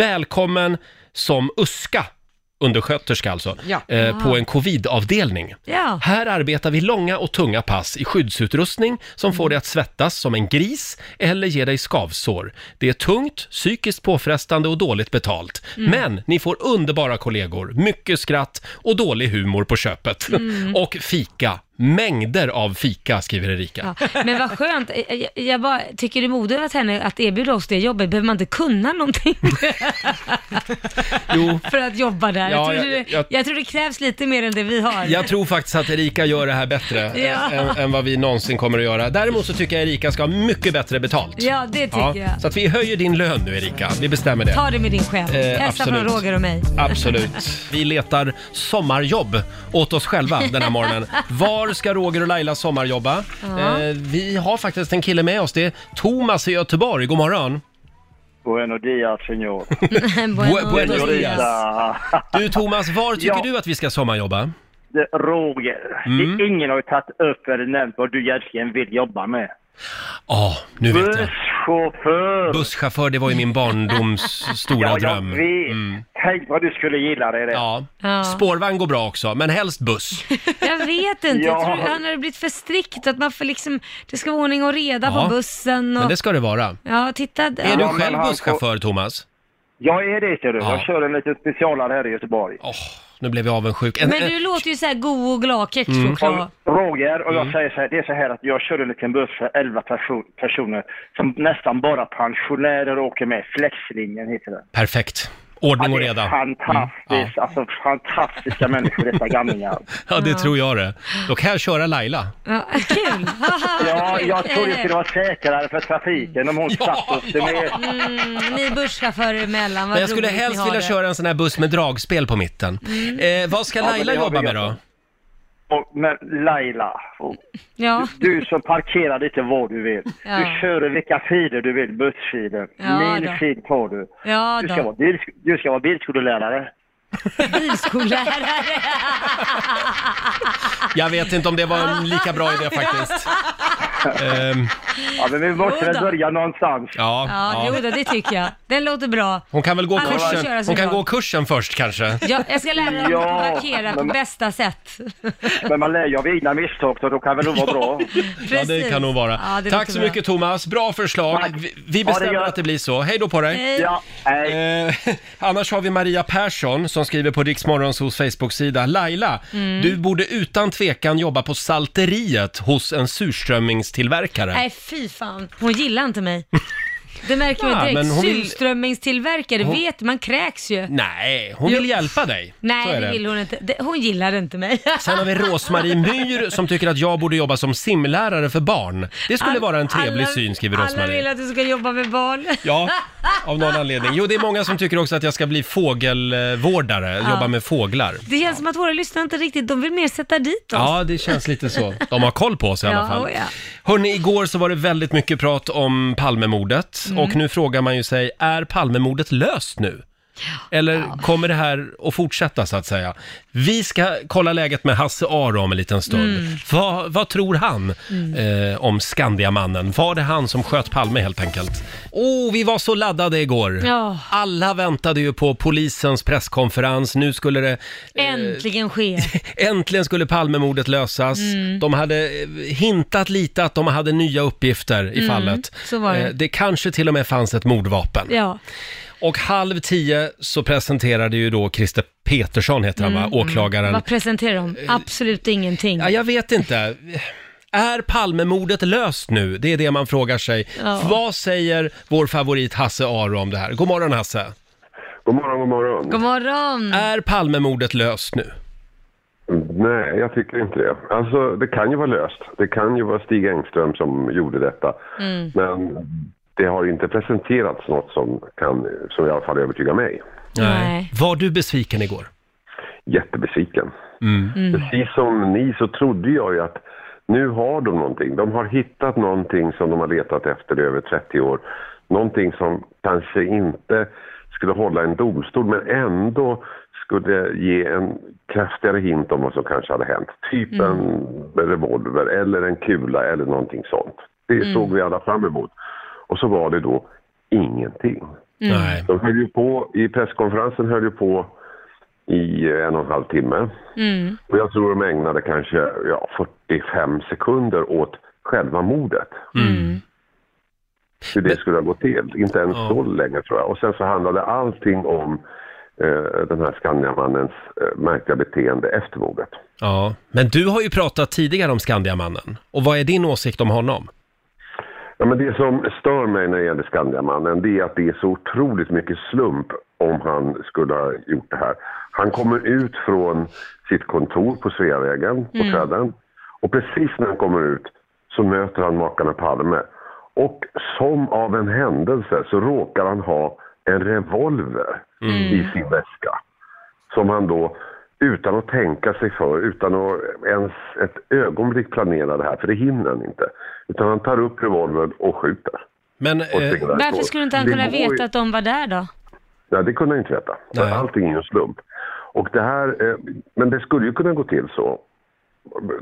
A: välkommen som USKA, undersköterska alltså,
B: Ja.
A: eh, på en covid-avdelning.
C: Ah. Ja.
A: Här arbetar vi långa och tunga pass i skyddsutrustning som får dig att svettas som en gris eller ger dig skavsår. Det är tungt, psykiskt påfrestande och dåligt betalt.
C: Mm.
A: Men ni får
C: Mm.
A: underbara kollegor, mycket skratt och dålig humor på köpet. Och fika mängder av fika, skriver Erika.
C: Ja, men vad skönt, jag, jag bara tycker det är modigt henne att erbjuda oss det jobbet, behöver man inte kunna någonting
A: Jo,
C: för att jobba där?
A: Ja,
C: jag, tror
A: jag-
C: det,
A: jag-
C: jag, tror det krävs lite mer än det vi har.
A: jag tror faktiskt att Erika gör det här bättre
C: Ja.
A: än, än vad vi någonsin kommer att göra. Däremot så tycker jag Erika ska ha mycket bättre betalt.
C: Ja, det tycker jag.
A: Så att vi höjer din lön nu Erika, vi bestämmer det.
C: Ta det med din chef.
A: Eh,
C: Hälsa från
A: absolut.
C: Roger och mig.
A: Absolut. Vi letar sommarjobb åt oss själva den här morgonen. Var ska Roger och Laila sommarjobba?
C: Ja.
A: Eh, vi har faktiskt en kille med oss. Det är Thomas i Göteborg. God morgon.
J: Buenos dias, señor.
A: Bu- buenos
J: Buenos
A: dias.
J: dias.
A: Du Thomas, var tycker
J: Ja.
A: du att vi ska sommarjobba?
J: Det- Roger,
A: Mm.
J: det ingen har ju tagit upp eller nämnt vad du egentligen vill jobba med.
A: Ja, nu vet jag.
J: Busschaufför!
A: Busschaufför, det var ju min barndoms stora
J: ja,
A: dröm. Mm.
J: jag vet. Tänk vad du skulle gilla det. det.
A: Ja.
C: Ja.
A: Spårvagn går bra också, men helst buss.
C: Jag vet inte, jag
J: Ja.
C: tror han har blivit för strikt att man får liksom, det ska vara ordning och reda
A: Ja.
C: på bussen
A: Men
C: och...
A: det ska det vara.
C: Ja, titta. där.
A: Är
J: Ja,
A: du
J: men
A: själv
J: han
A: busschaufför Thomas?
J: Jag är det, ser du.
A: Ja.
J: Jag kör en liten specialare här i Göteborg.
A: Åh, nu blev jag avundsjuk. En-
C: Men du låter ju så här god och glad
A: Mm.
C: kexchoklad.
J: Och Roger, och jag säger så här, det är så här att jag kör en liten buss för 11 perso- personer som nästan bara pensionärer åker med. Flexlinjen heter den.
A: Perfekt. Ordning och
J: Ja, det
A: reda.
J: är Fantastiskt,
A: Mm,
J: alltså fantastiska människor dessa gamlingar.
A: Ja, det tror jag det. Då kan jag köra Laila.
C: Ja, kul!
J: Ja, jag tror det skulle vara säkrare för trafiken om hon satt oss ner.
C: Mm, ni busschaufförer emellan, vad
A: Men jag skulle
C: roligt ni
A: helst
C: har
A: vilja
C: det. Mm.
A: köra en sån här buss med dragspel på mitten. Eh, vad ska
J: Ja, men
A: Laila
J: det har
A: jobba
J: vi
A: med
J: gott
A: då?
J: om. Och, men Laila, och
C: Ja,
J: du som parkerar lite var du vill.
C: Ja.
J: Du kör i vilka filer du vill, bussfilen.
C: Ja,
J: Min
C: då.
J: fil tar du.
C: ja
J: Du ska vara,
C: då.
J: bil, du ska vara bilskolelärare.
C: Bilskollärare.
A: Jag vet inte om det var en lika bra idé faktiskt. Ehm,
J: Ja, men vi måste
C: Jo
J: väl
C: då.
J: börja någonstans.
A: ja,
C: Ja,
A: ja.
C: jodå, det tycker jag. Den låter bra.
A: Hon kan väl gå
C: Alla får köra
A: kursen,
C: sin
A: hon kan
C: dag.
A: gå kursen först kanske.
C: Ja, jag ska lära dig
J: Ja,
C: att parkera på
J: men-
C: bästa sätt.
J: Men man lär ju av egna misstag, så då kan väl nog vara bra.
A: Ja, det kan hon
C: Ja,
A: vara.
C: det
A: Tack
C: låter
A: så
C: bra.
A: mycket Thomas, bra förslag.
J: Tack.
A: Vi-
J: det
A: Vi bestämmer
J: gött.
A: att det blir så. Hej då på dig!
C: Hej.
J: Ja, nej.
A: Eh, annars har vi Maria Persson som skriver på Riksmorgons hos Facebook-sida. Laila,
C: Mm.
A: du borde utan tvekan jobba på salteriet hos en surströmmingstillverkare.
C: Nej, fy fan. Hon gillar inte mig. Det märker man
A: Ja,
C: direkt.
A: men hon vill-
C: Surströmmingstillverkare, vet man kräks ju.
A: Nej, hon vill hjälpa dig. Så
C: Nej,
A: är
C: det vill hon inte. Det- Hon gillar inte mig.
A: Sen har vi Rosmarie Myhr som tycker att jag borde jobba som simlärare för barn. Det skulle
C: All-
A: vara en trevlig
C: alla-
A: syn, skriver
C: Alla vill
A: Rosmarie.
C: att du ska jobba med barn.
A: Ja, av någon anledning. Jo, det är många som tycker också att jag ska bli fågelvårdare, jobba med fåglar.
C: Det känns som att våra lyssnare inte riktigt, de vill mer sätta dit oss.
A: Ja, det känns lite så. De har koll på sig i alla
C: Ja,
A: fall.
C: oh ja.
A: Hörni, igår så var det väldigt mycket prat om Palmemordet
C: Mm.
A: och nu frågar man ju sig, är Palmemordet löst nu? Eller kommer det här att fortsätta så att säga? Vi ska kolla läget med Hasse Aro om en liten stund.
C: Mm.
A: Vad, vad tror han eh, om Skandiamannen? Var det han som sköt Palme helt enkelt? Åh, oh, vi var så laddade igår.
C: Ja.
A: Alla väntade ju på polisens presskonferens. Nu skulle det eh,
C: Eh, Äntligen sker.
A: Äntligen skulle Palmemordet lösas.
C: Mm.
A: De hade eh, hintat lite att de hade nya uppgifter i fallet.
C: Mm, så var det.
A: Eh, det kanske till och med fanns ett mordvapen.
C: Ja.
A: Och halv tio så presenterade ju då Christer Petersson, heter han
C: Mm.
A: va, åklagaren.
C: Vad presenterar de? Absolut ingenting.
A: Eh, Ja, jag vet inte. Är Palmemordet löst nu? Det är det man frågar sig.
C: Ja.
A: Vad säger vår favorit Hasse Aro om det här? God morgon Hasse.
K: God morgon, god morgon.
C: God morgon!
A: Är Palmemordet löst nu?
K: Nej, jag tycker inte det. Alltså, det kan ju vara löst. Det kan ju vara Stig Engström som gjorde detta. Men det har inte presenterats något som kan, som i alla fall övertygar mig.
C: Nej.
A: Var du besviken igår?
K: Jättebesviken. Precis som ni så trodde jag ju att nu har de någonting. De har hittat någonting som de har letat efter i över 30 år. Någonting som kanske inte skulle hålla en domstol men ändå skulle ge en kraftigare hint om vad som kanske hade hänt. Typ
A: Mm.
B: Mm.
K: en revolver eller en kula eller någonting sånt. Det
A: Mm.
K: såg vi alla fram emot. Och så var det då ingenting.
B: Mm.
A: Nej.
K: De höll ju på, i presskonferensen höll ju på i eh, en och en halv timme.
B: Mm.
K: Och jag tror de ägnade kanske ja, 45 sekunder åt själva mordet.
A: Mm.
K: Hur det skulle ha gått till. Inte ens
A: Ja.
K: så länge tror jag. Och sen så handlade allting om eh, den här Skandiamannens eh, märkliga beteende efter mordet.
A: Ja, men du har ju pratat tidigare om Skandiamannen. Och vad är din åsikt om honom?
K: Ja, men det som stör mig när det gäller Skandiamannen det är att det är så otroligt mycket slump om han skulle ha gjort det här. Han kommer ut från sitt kontor på Sveavägen, på
L: Mm.
K: Södern. Och precis när han kommer ut så möter han makarna Palme. Och som av en händelse så råkar han ha en revolver i sin väska. Som han då, utan att tänka sig för, utan att ens ett ögonblick planera det här, för det hinner han inte. Utan han tar upp revolvern och skjuter.
A: Men, eh,
K: och singlar ett
C: Eh, Varför
K: skott.
C: skulle inte han
K: Det
C: kunna
K: går ju-
C: veta att de var där då?
K: Nej, det kunde jag inte veta. För allting är ju en slump. Och det här, eh, men det skulle ju kunna gå till så.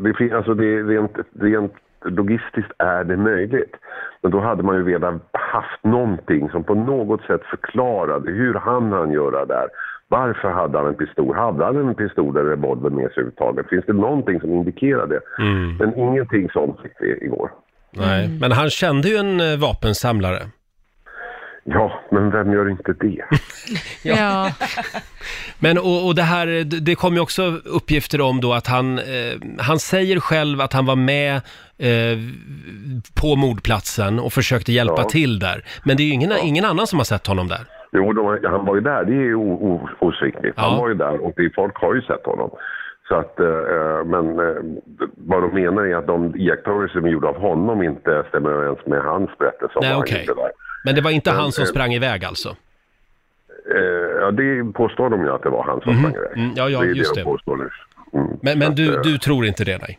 K: Det, fin- alltså det, är rent, rent logistiskt är det möjligt. Men då hade man ju redan haft någonting som på något sätt förklarade hur hann han göra där? Varför hade han en pistol? Hade han en pistol eller revolver med sig överhuvudtaget? Finns det någonting som indikerar det? Men ingenting sånt fick vi igår.
A: Nej, mm. men han kände ju en eh, vapensamlare.
K: Ja, men vem gör inte det?
C: Ja.
A: Men och, och det här, eh, d- det kom ju också uppgifter om då att han, eh, han säger själv att han var med eh, på mordplatsen och försökte hjälpa
K: Ja.
A: till där. Men det är ju ingen, ingen annan som har sett honom där.
K: Jo, de, han var ju där. Det är ju o- o- osviktigt. Han var ju där och det, folk har ju sett honom. Så att, eh, men eh, vad de menar är att de iakttagelser som är gjorda av honom inte stämmer överens med hans berättelse om
A: Nej,
K: vad
A: okej.
K: han gjorde där.
A: Men det var inte
K: Men,
A: han som
K: eh,
A: sprang iväg alltså?
K: Eh, ja, det påstår de ju att det var han som
A: Mhm.
K: sprang iväg.
A: Mm, ja, ja,
K: det är
A: just
K: det
A: det.
K: de påstår nu.
A: Men, men du,
K: eh,
A: du tror inte det, nej?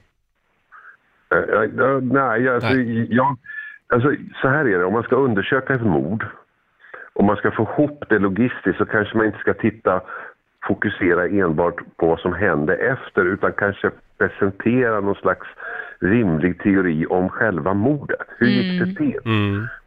K: Eh, eh, eh, nej, alltså, Jag, alltså, så här är det. Om man ska undersöka ett mord, om man ska få ihop det logistiskt så kanske man inte ska titta, fokusera enbart på vad som hände efter utan kanske presentera någon slags rimlig teori om själva mordet. Hur gick
C: Mm.
K: det till?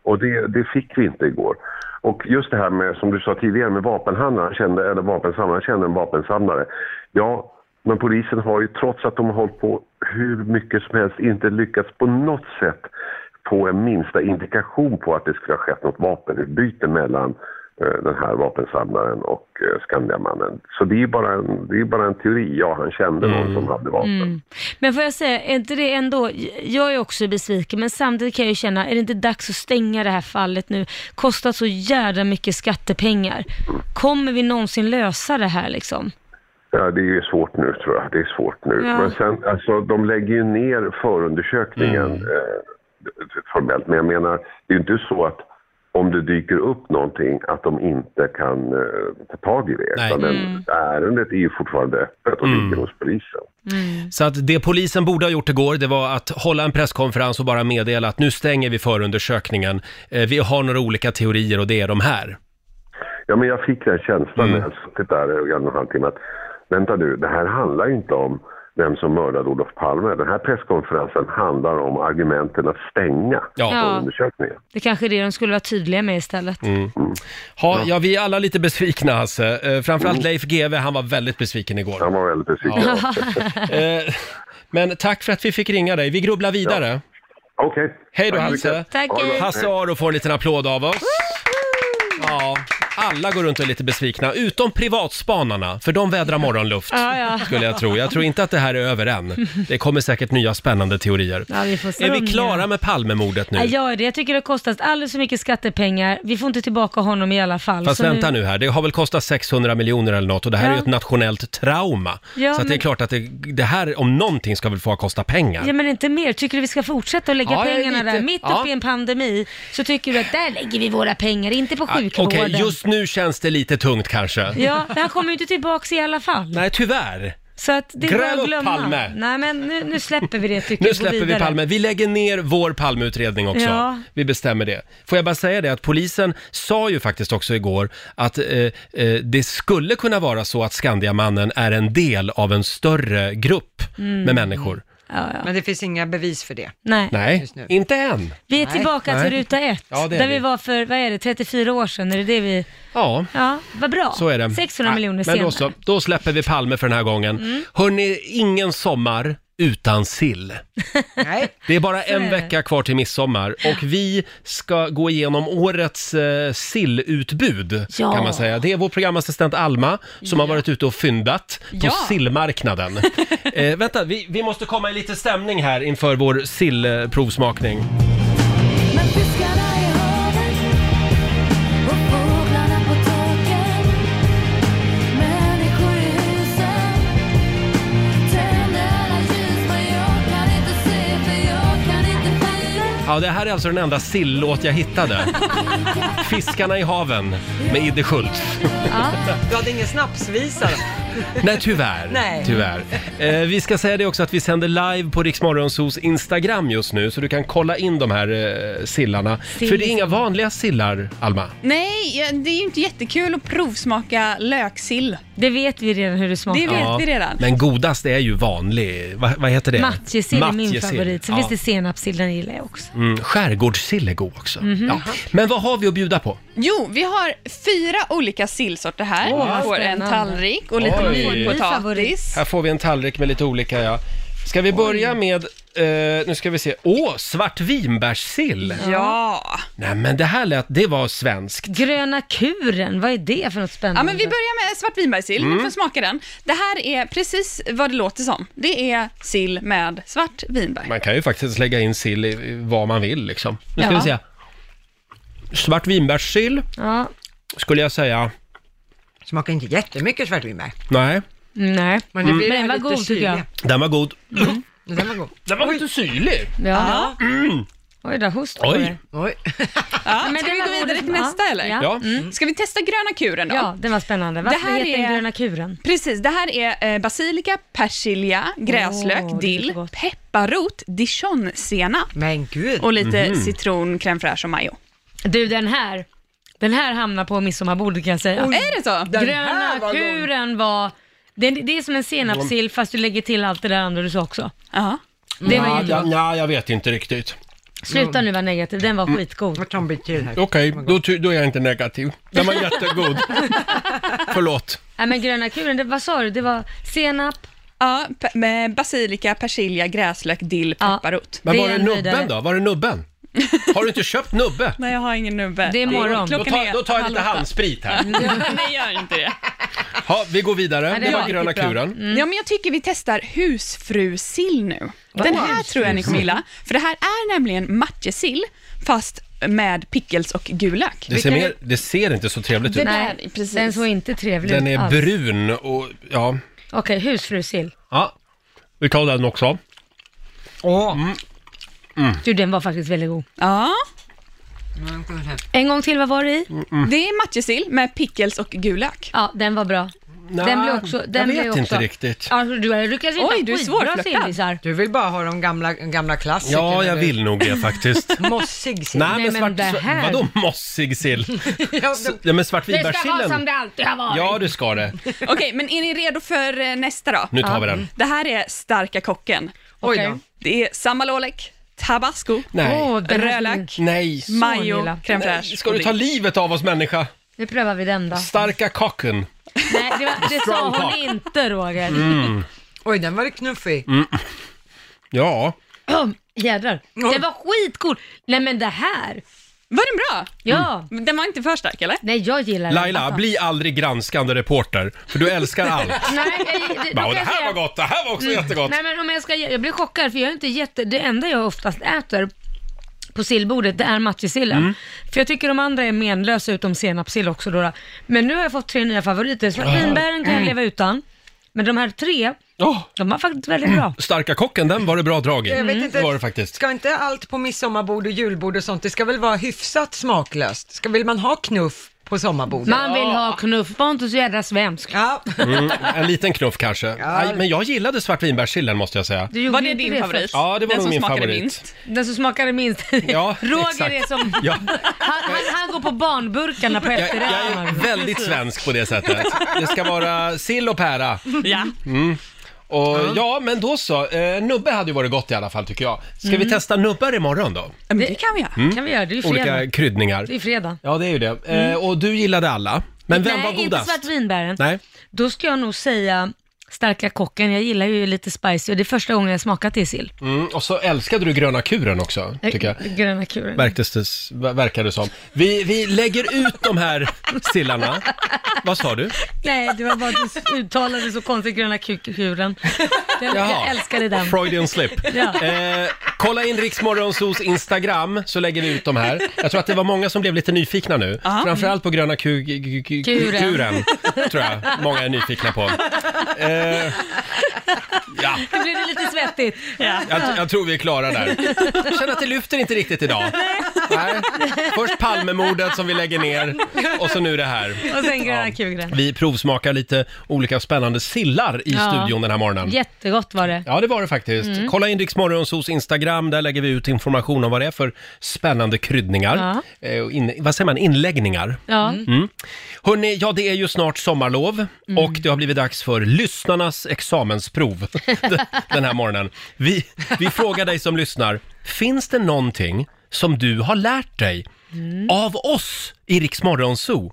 K: Och det, det fick vi inte igår. Och just det här med, som du sa tidigare, med vapenhandlaren, kände, eller vapensamlaren, kände en vapensamlare. Ja, men polisen har ju trots att de har hållit på hur mycket som helst inte lyckats på något sätt få en minsta indikation på att det skulle ha skett något vapenutbyte mellan eh, den här vapensamlaren och eh, Skandiamannen. Så det är ju bara en, det är bara en teori. Ja, han kände någon som hade vapen.
C: Mm. Men får jag säga, är inte det ändå, jag är också besviken, men samtidigt kan jag ju känna, är det inte dags att stänga det här fallet nu? Kostat så jävla mycket skattepengar. Kommer vi någonsin lösa det här liksom?
K: Ja, det är ju svårt nu tror jag. Det är svårt nu.
C: Ja.
K: Men sen, alltså de lägger ju ner förundersökningen
A: Mm.
K: eh, formellt. Men jag menar, det är ju inte så att om det dyker upp någonting att de inte kan eh, ta tag i det.
A: Nej.
K: Utan den-
A: Mm.
K: Ärendet är ju fortfarande öppet och
A: Mm.
K: ligger hos polisen.
A: Så att det polisen borde ha gjort igår, det var att hålla en presskonferens och bara meddela att nu stänger vi förundersökningen. Eh, Vi har några olika teorier och det är de här.
K: Ja, men jag fick den känslan
A: Mm.
K: när jag suttit där i en och en halv timme att vänta nu, det här handlar ju inte om vem som mördade Olof Palme. Den här presskonferensen handlar om argumenten att stänga
C: Ja.
K: förundersökningen.
C: Det kanske är det de skulle vara tydliga med istället.
A: Mm. Ha, ja, vi är alla lite besvikna Hasse. Eh, Framförallt Leif GW, han var väldigt besviken igår. Han
K: var väldigt besviken.
A: Eh, Men tack för att vi fick ringa dig. Vi grubblar vidare.
K: Okej.
A: Hej då
L: Tack så
A: Hasse.
L: mycket. Tack, hej.
A: Hasse Aro får en liten applåd av oss. Ja, alla går runt och är lite besvikna, utom privatspanarna, för de vädrar morgonluft,
C: Ja, ja.
A: skulle jag tro. Jag tror inte att det här är över än. Det kommer säkert nya spännande teorier.
C: Ja, vi får se
A: Är
C: om
A: vi
C: det-
A: klara med Palmemordet nu?
C: Nej, jag är det. Jag tycker det har kostat alldeles för mycket skattepengar. Vi får inte tillbaka honom i alla fall.
A: Fast
C: Så
A: vänta nu här, det har väl kostat 600 miljoner eller något och det här är ju
C: alltså Ja.
A: ett nationellt trauma.
C: Ja,
A: så att det är
C: men-
A: klart att det, det här om någonting ska väl få kosta pengar.
C: Ja men inte mer. Tycker du vi ska fortsätta att lägga
A: Ja, jag är
C: pengarna
A: lite-
C: där? Mitt
A: ja.
C: uppe i en pandemi så tycker du att där lägger vi våra pengar, inte på
A: Ah,
C: sjukvården.
A: Okej, just nu känns det lite tungt kanske.
C: Ja, men han kommer ju inte tillbaka i alla fall.
A: Nej, tyvärr.
C: Så att det
A: Gräv
C: går att
A: upp
C: glömma.
A: Palme.
C: Nej men nu, nu släpper vi det tycker jag.
A: Nu
C: Gå
A: släpper vi
C: vidare.
A: Palme. Vi lägger ner vår Palmeutredning också.
C: Ja.
A: Vi bestämmer det. Får jag bara säga det att polisen sa ju faktiskt också igår att eh, eh, det skulle kunna vara så att Skandiamannen är en del av en större grupp
B: Mm.
A: med människor.
B: Men det finns inga bevis för det.
C: Nej.
A: Nej, inte än.
C: Vi är tillbaka
A: Nej.
C: till ruta ett.
A: Ja, det är
C: där
A: vi.
C: vi var för, vad är det, 34 år sedan? Är det det vi...
A: Ja.
C: Ja, vad bra.
A: Så är det.
C: 600
A: Nej,
C: miljoner
A: Men
C: senare.
A: då, så, då släpper vi Palme för den här gången.
C: Mm.
A: Hörni, ingen sommar utan sill.
B: Nej.
A: Det är bara
B: Så är
A: en
B: det.
A: vecka kvar till midsommar och vi ska gå igenom årets eh, sillutbud
L: Ja.
A: kan man säga. Det är vår programassistent Alma som har varit ute och fyndat på
L: Ja.
A: sillmarknaden. eh, vänta, vi, vi måste komma i lite stämning här inför vår sillprovsmakning. Ja, det här är alltså den enda sillåt jag hittade. Fiskarna i haven med Idde Schultz.
B: Du hade ingen snapsvisa då?
A: Nej, tyvärr.
B: Nej.
A: tyvärr. Eh, vi ska säga det också att vi sänder live på Riksmorgonsos Instagram just nu, så du kan kolla in de här eh, sillarna.
M: Sill.
A: För det är inga vanliga sillar, Alma.
M: Nej, ja, det är ju inte jättekul att provsmaka löksill. Det vet vi redan hur det smakar. Det vet
A: Ja,
M: vi redan.
A: Men godast är ju vanlig, va, vad heter det?
C: Matjessill är min
A: Matjessill,
C: favorit. Sen
A: ja.
C: finns det senapssill, den gillar jag också.
A: Mm, skärgårdssill är god också.
M: Mhm.
A: Ja. Men vad har vi att bjuda på?
M: Jo, vi har fyra olika sillsorter här.
C: Åh,
M: man
C: vad
M: får en
C: spännande.
M: tallrik och lite
A: Oj.
M: mjuk potatis.
A: Här får vi en tallrik med lite olika, ja. Ska vi börja med, eh, nu ska vi se, åh, svart vinbärssill!
M: Ja.
A: Nej men det här lät, det var svenskt.
M: Gröna kuren, vad är det för något spännande? Ja, men vi börjar med svartvinbärssill,
A: Mm.
M: ni får smaka den. Det här är precis vad det låter som. Det är sill med svart vinbär.
A: Man kan ju faktiskt lägga in sill i- i vad man vill liksom. Nu ska
M: Ja.
A: vi se. Svart vinbärssill
C: Ja.
A: skulle jag säga.
B: Smakar inte jättemycket svartvinbär.
A: Nej,
C: Nej,
B: Men det blir
A: Mm.
C: men den var
B: lite
C: god tycker jag.
B: kylig.
A: den var god.
B: Den var god.
A: Den var lite syrlig.
C: Ja.
A: Mm.
C: Oj, där host på
A: Oj.
C: det.
B: Oj.
M: Ja,
C: men
M: ska vi
C: den
M: gå
C: var
M: vidare
C: god.
M: till nästa
C: Ja.
M: eller?
C: Ja. Ja. Mm.
M: Ska vi testa gröna kuren då?
C: Ja, den var spännande. Varför
M: Det här
C: heter den
M: är-
C: gröna kuren?
M: Precis, det här är eh, basilika, persilja, gräslök,
C: Åh, det är så
M: dill,
C: gott.
M: pepparrot, dijonsenap
B: Men gud.
M: och lite
C: Mhm.
M: citron, crème fraîche och majo.
C: Du, den här. Den här hamnar på midsommarbordet kan jag säga.
M: Oj, är det så? Den här
C: gröna
M: var god.
C: kuren var... Det, det är som en senapssill fast du lägger till allt det där andra du sa också.
M: Ja.
C: Det var
A: ja,
C: jättegott.
A: ja, ja, jag vet inte riktigt.
C: Sluta nu vara negativ, den var
A: Mm.
C: skitgod.
B: Jag tar en bit till här.
A: Okej, då, ty- då är jag inte negativ. Den var jättegod. Förlåt.
C: Nej men gröna kuren, det, vad sa du? Det var senap?
M: Ja, pe- med basilika, persilja, gräslök, dill, pepparrot.
A: Men var det nubben då? Var det nubben? Har du inte köpt nubbe?
M: Nej, jag har ingen nubbe.
A: Det är morgon. Då tar- då tar jag
M: halv
A: lite
M: åtta. Mm.
A: handsprit här.
M: Nej, gör inte det.
A: Ja, vi går vidare.
M: Nej,
A: Det var gröna
M: riktigt bra.
A: kuren.
C: Mm.
M: Ja, men jag tycker vi testar husfrusill nu.
A: Vad
M: Den
A: är
M: här tror jag ni
A: husfrusill?
M: kommer gilla, för det här är nämligen matjessill, fast med pickles och gul lök.
A: Det ser, mer, det ser inte så trevligt ut.
C: Nej,
M: precis.
C: Den såg inte trevlig
A: Den
C: ut
A: är
C: alls.
A: brun och ja,
C: Okej, husfrusill.
A: ja. Vi tar den också.
C: Åh.
A: Mm. Mm.
C: Du, den var faktiskt väldigt god.
M: Ja.
A: Mm.
C: En gång till, vad var det i?
M: Det är matjessill med pickles och gul lök.
C: Ja, den var bra. den blev också... Den
B: jag
C: blev
B: vet
C: också,
B: inte riktigt.
C: Ja, du har lyckats hitta
B: Oj, du är
C: skitbra
B: svårflörtad.
C: sillisar.
B: Du vill bara ha de gamla, gamla klassikerna.
A: Ja, jag
B: du.
A: vill nog det faktiskt.
B: Mossig sill.
A: Nej, men svart... svart- Vadå mossig sill? S- Ja, men svartvinbärssillen.
M: alltid har
A: Ja, det ska det.
M: Okej, men är ni redo för eh, nästa då?
A: Nu tar vi den.
M: Det här är Starka kocken.
A: Oj då.
M: Det är samalolek, tabasco,
A: Nej.
M: rödlök,
A: Nej.
M: majo,
C: gilla.
M: crème fraîche.
A: Nej, Ska du ta livet av oss människa?
C: Nu prövar vi den då.
A: Starka kocken.
C: Nej, det, var, det sa
A: Strong
C: hon
A: cock.
C: inte Roger.
A: Mm.
B: Oj, den var det knuffig.
A: Mm. Ja.
C: Jädrar. Den var skitgod. Nej men det här.
M: Var den bra? Mm.
C: Ja.
M: Den var inte för stark eller?
C: Nej, jag gillar den.
A: Laila, bli aldrig granskande reporter, för du älskar allt.
C: Nej, det, det,
A: Bara,
C: då
A: "Och det
C: kan jag
A: här
C: säga- Mm.
A: var gott, det här var också jättegott.
C: Nej men om jag ska, ge- jag blir chockad för jag är inte jätte, det enda jag oftast äter på sillbordet, det är matjessillen.
N: Mm.
C: För jag tycker de andra är menlösa utom senapssill också då. då. Men nu har jag fått tre nya favoriter, så vinbären kan jag leva utan. Men de här tre, de var faktiskt väldigt bra.
A: Starka kocken, den var det bra drag i.
B: Jag vet inte.
A: Mm, Det var det faktiskt.
B: Ska inte allt på midsommarbord och julbord och sånt, det ska väl vara hyfsat smaklöst? Ska, vill man ha knuff på sommarbordet?
C: Man vill ha knuff, var inte så jädra svensk.
B: Ja.
A: Mm, en liten knuff kanske. Aj, men jag gillade svartvinbärssillen måste jag säga.
C: Du gjorde
M: Var det
C: inte
M: din favorit?
A: Ja, det var
M: Den
A: nog
M: som
A: min
M: smakade
A: favorit.
M: minst?
C: Den som smakade minst.
A: Ja,
C: Roger
A: exakt.
C: är som,
A: Ja.
C: han, han, han går på barnburkarna på
A: Jag, jag
C: efterrätten.
A: är väldigt svensk på det sättet. Det ska vara sill och pära.
M: Ja.
A: Mm. Och, ja, men då så. Eh, nubbe hade ju varit gott i alla fall tycker jag. Ska vi
C: Mm.
A: testa nubbar imorgon då?
M: Men det kan vi göra.
A: Mm.
C: kan vi göra, det är ju fredag.
A: Olika kryddningar.
C: Det är fredag.
A: Ja, det är ju det. Eh,
C: Mm.
A: och du gillade alla. Men vem
C: Nej,
A: var
C: inte
A: godast?
C: svartvinbären.
A: Nej,
C: Då ska jag nog säga starka kocken. Jag gillar ju lite spicy och det är första gången jag smakat det i sill.
A: Mm, och så älskade du gröna kuren också,
C: Eh,
A: tycker jag.
C: Gröna kuren.
A: Verkades det, verkar det som. Vi, vi lägger ut de här sillarna. Vad sa du?
C: Nej, det var bara att du uttalade så konstigt, gröna kuren. Den, jag
A: Jaha.
C: älskade den.
A: Freudian slip.
C: Ja.
A: Eh, kolla in Riksmorgonsos Instagram så lägger vi ut de här. Jag tror att det var många som blev lite nyfikna nu.
C: Ja.
A: Framförallt på gröna ku, ku, ku,
C: Kuren.
A: kuren. Tror jag många är nyfikna på. Eh, ja,
C: Nu blev det lite svettigt. Ja.
A: jag, jag tror vi är klara där. Jag känner att det lyfter inte riktigt idag. Nej. Först Palmemordet som vi lägger ner och så nu det här.
C: Och sen gröna kuren.
A: Vi provsmakar lite olika spännande sillar i
C: Ja.
A: studion den här morgonen.
C: Jättegott var det.
A: Ja, det var det faktiskt.
C: Mm.
A: Kolla in Rix Morgonzos Instagram, där lägger vi ut information om vad det är för spännande kryddningar. Eh, och in, vad säger man, inläggningar?
C: Ja.
A: Mm. Hörrni, ja det är ju snart sommarlov
C: Mm.
A: och det har blivit dags för lyssnarnas examensprov den här morgonen. Vi, vi frågar dig som lyssnar, finns det någonting som du har lärt dig
C: Mm.
A: av oss i Rix Morgonzoo?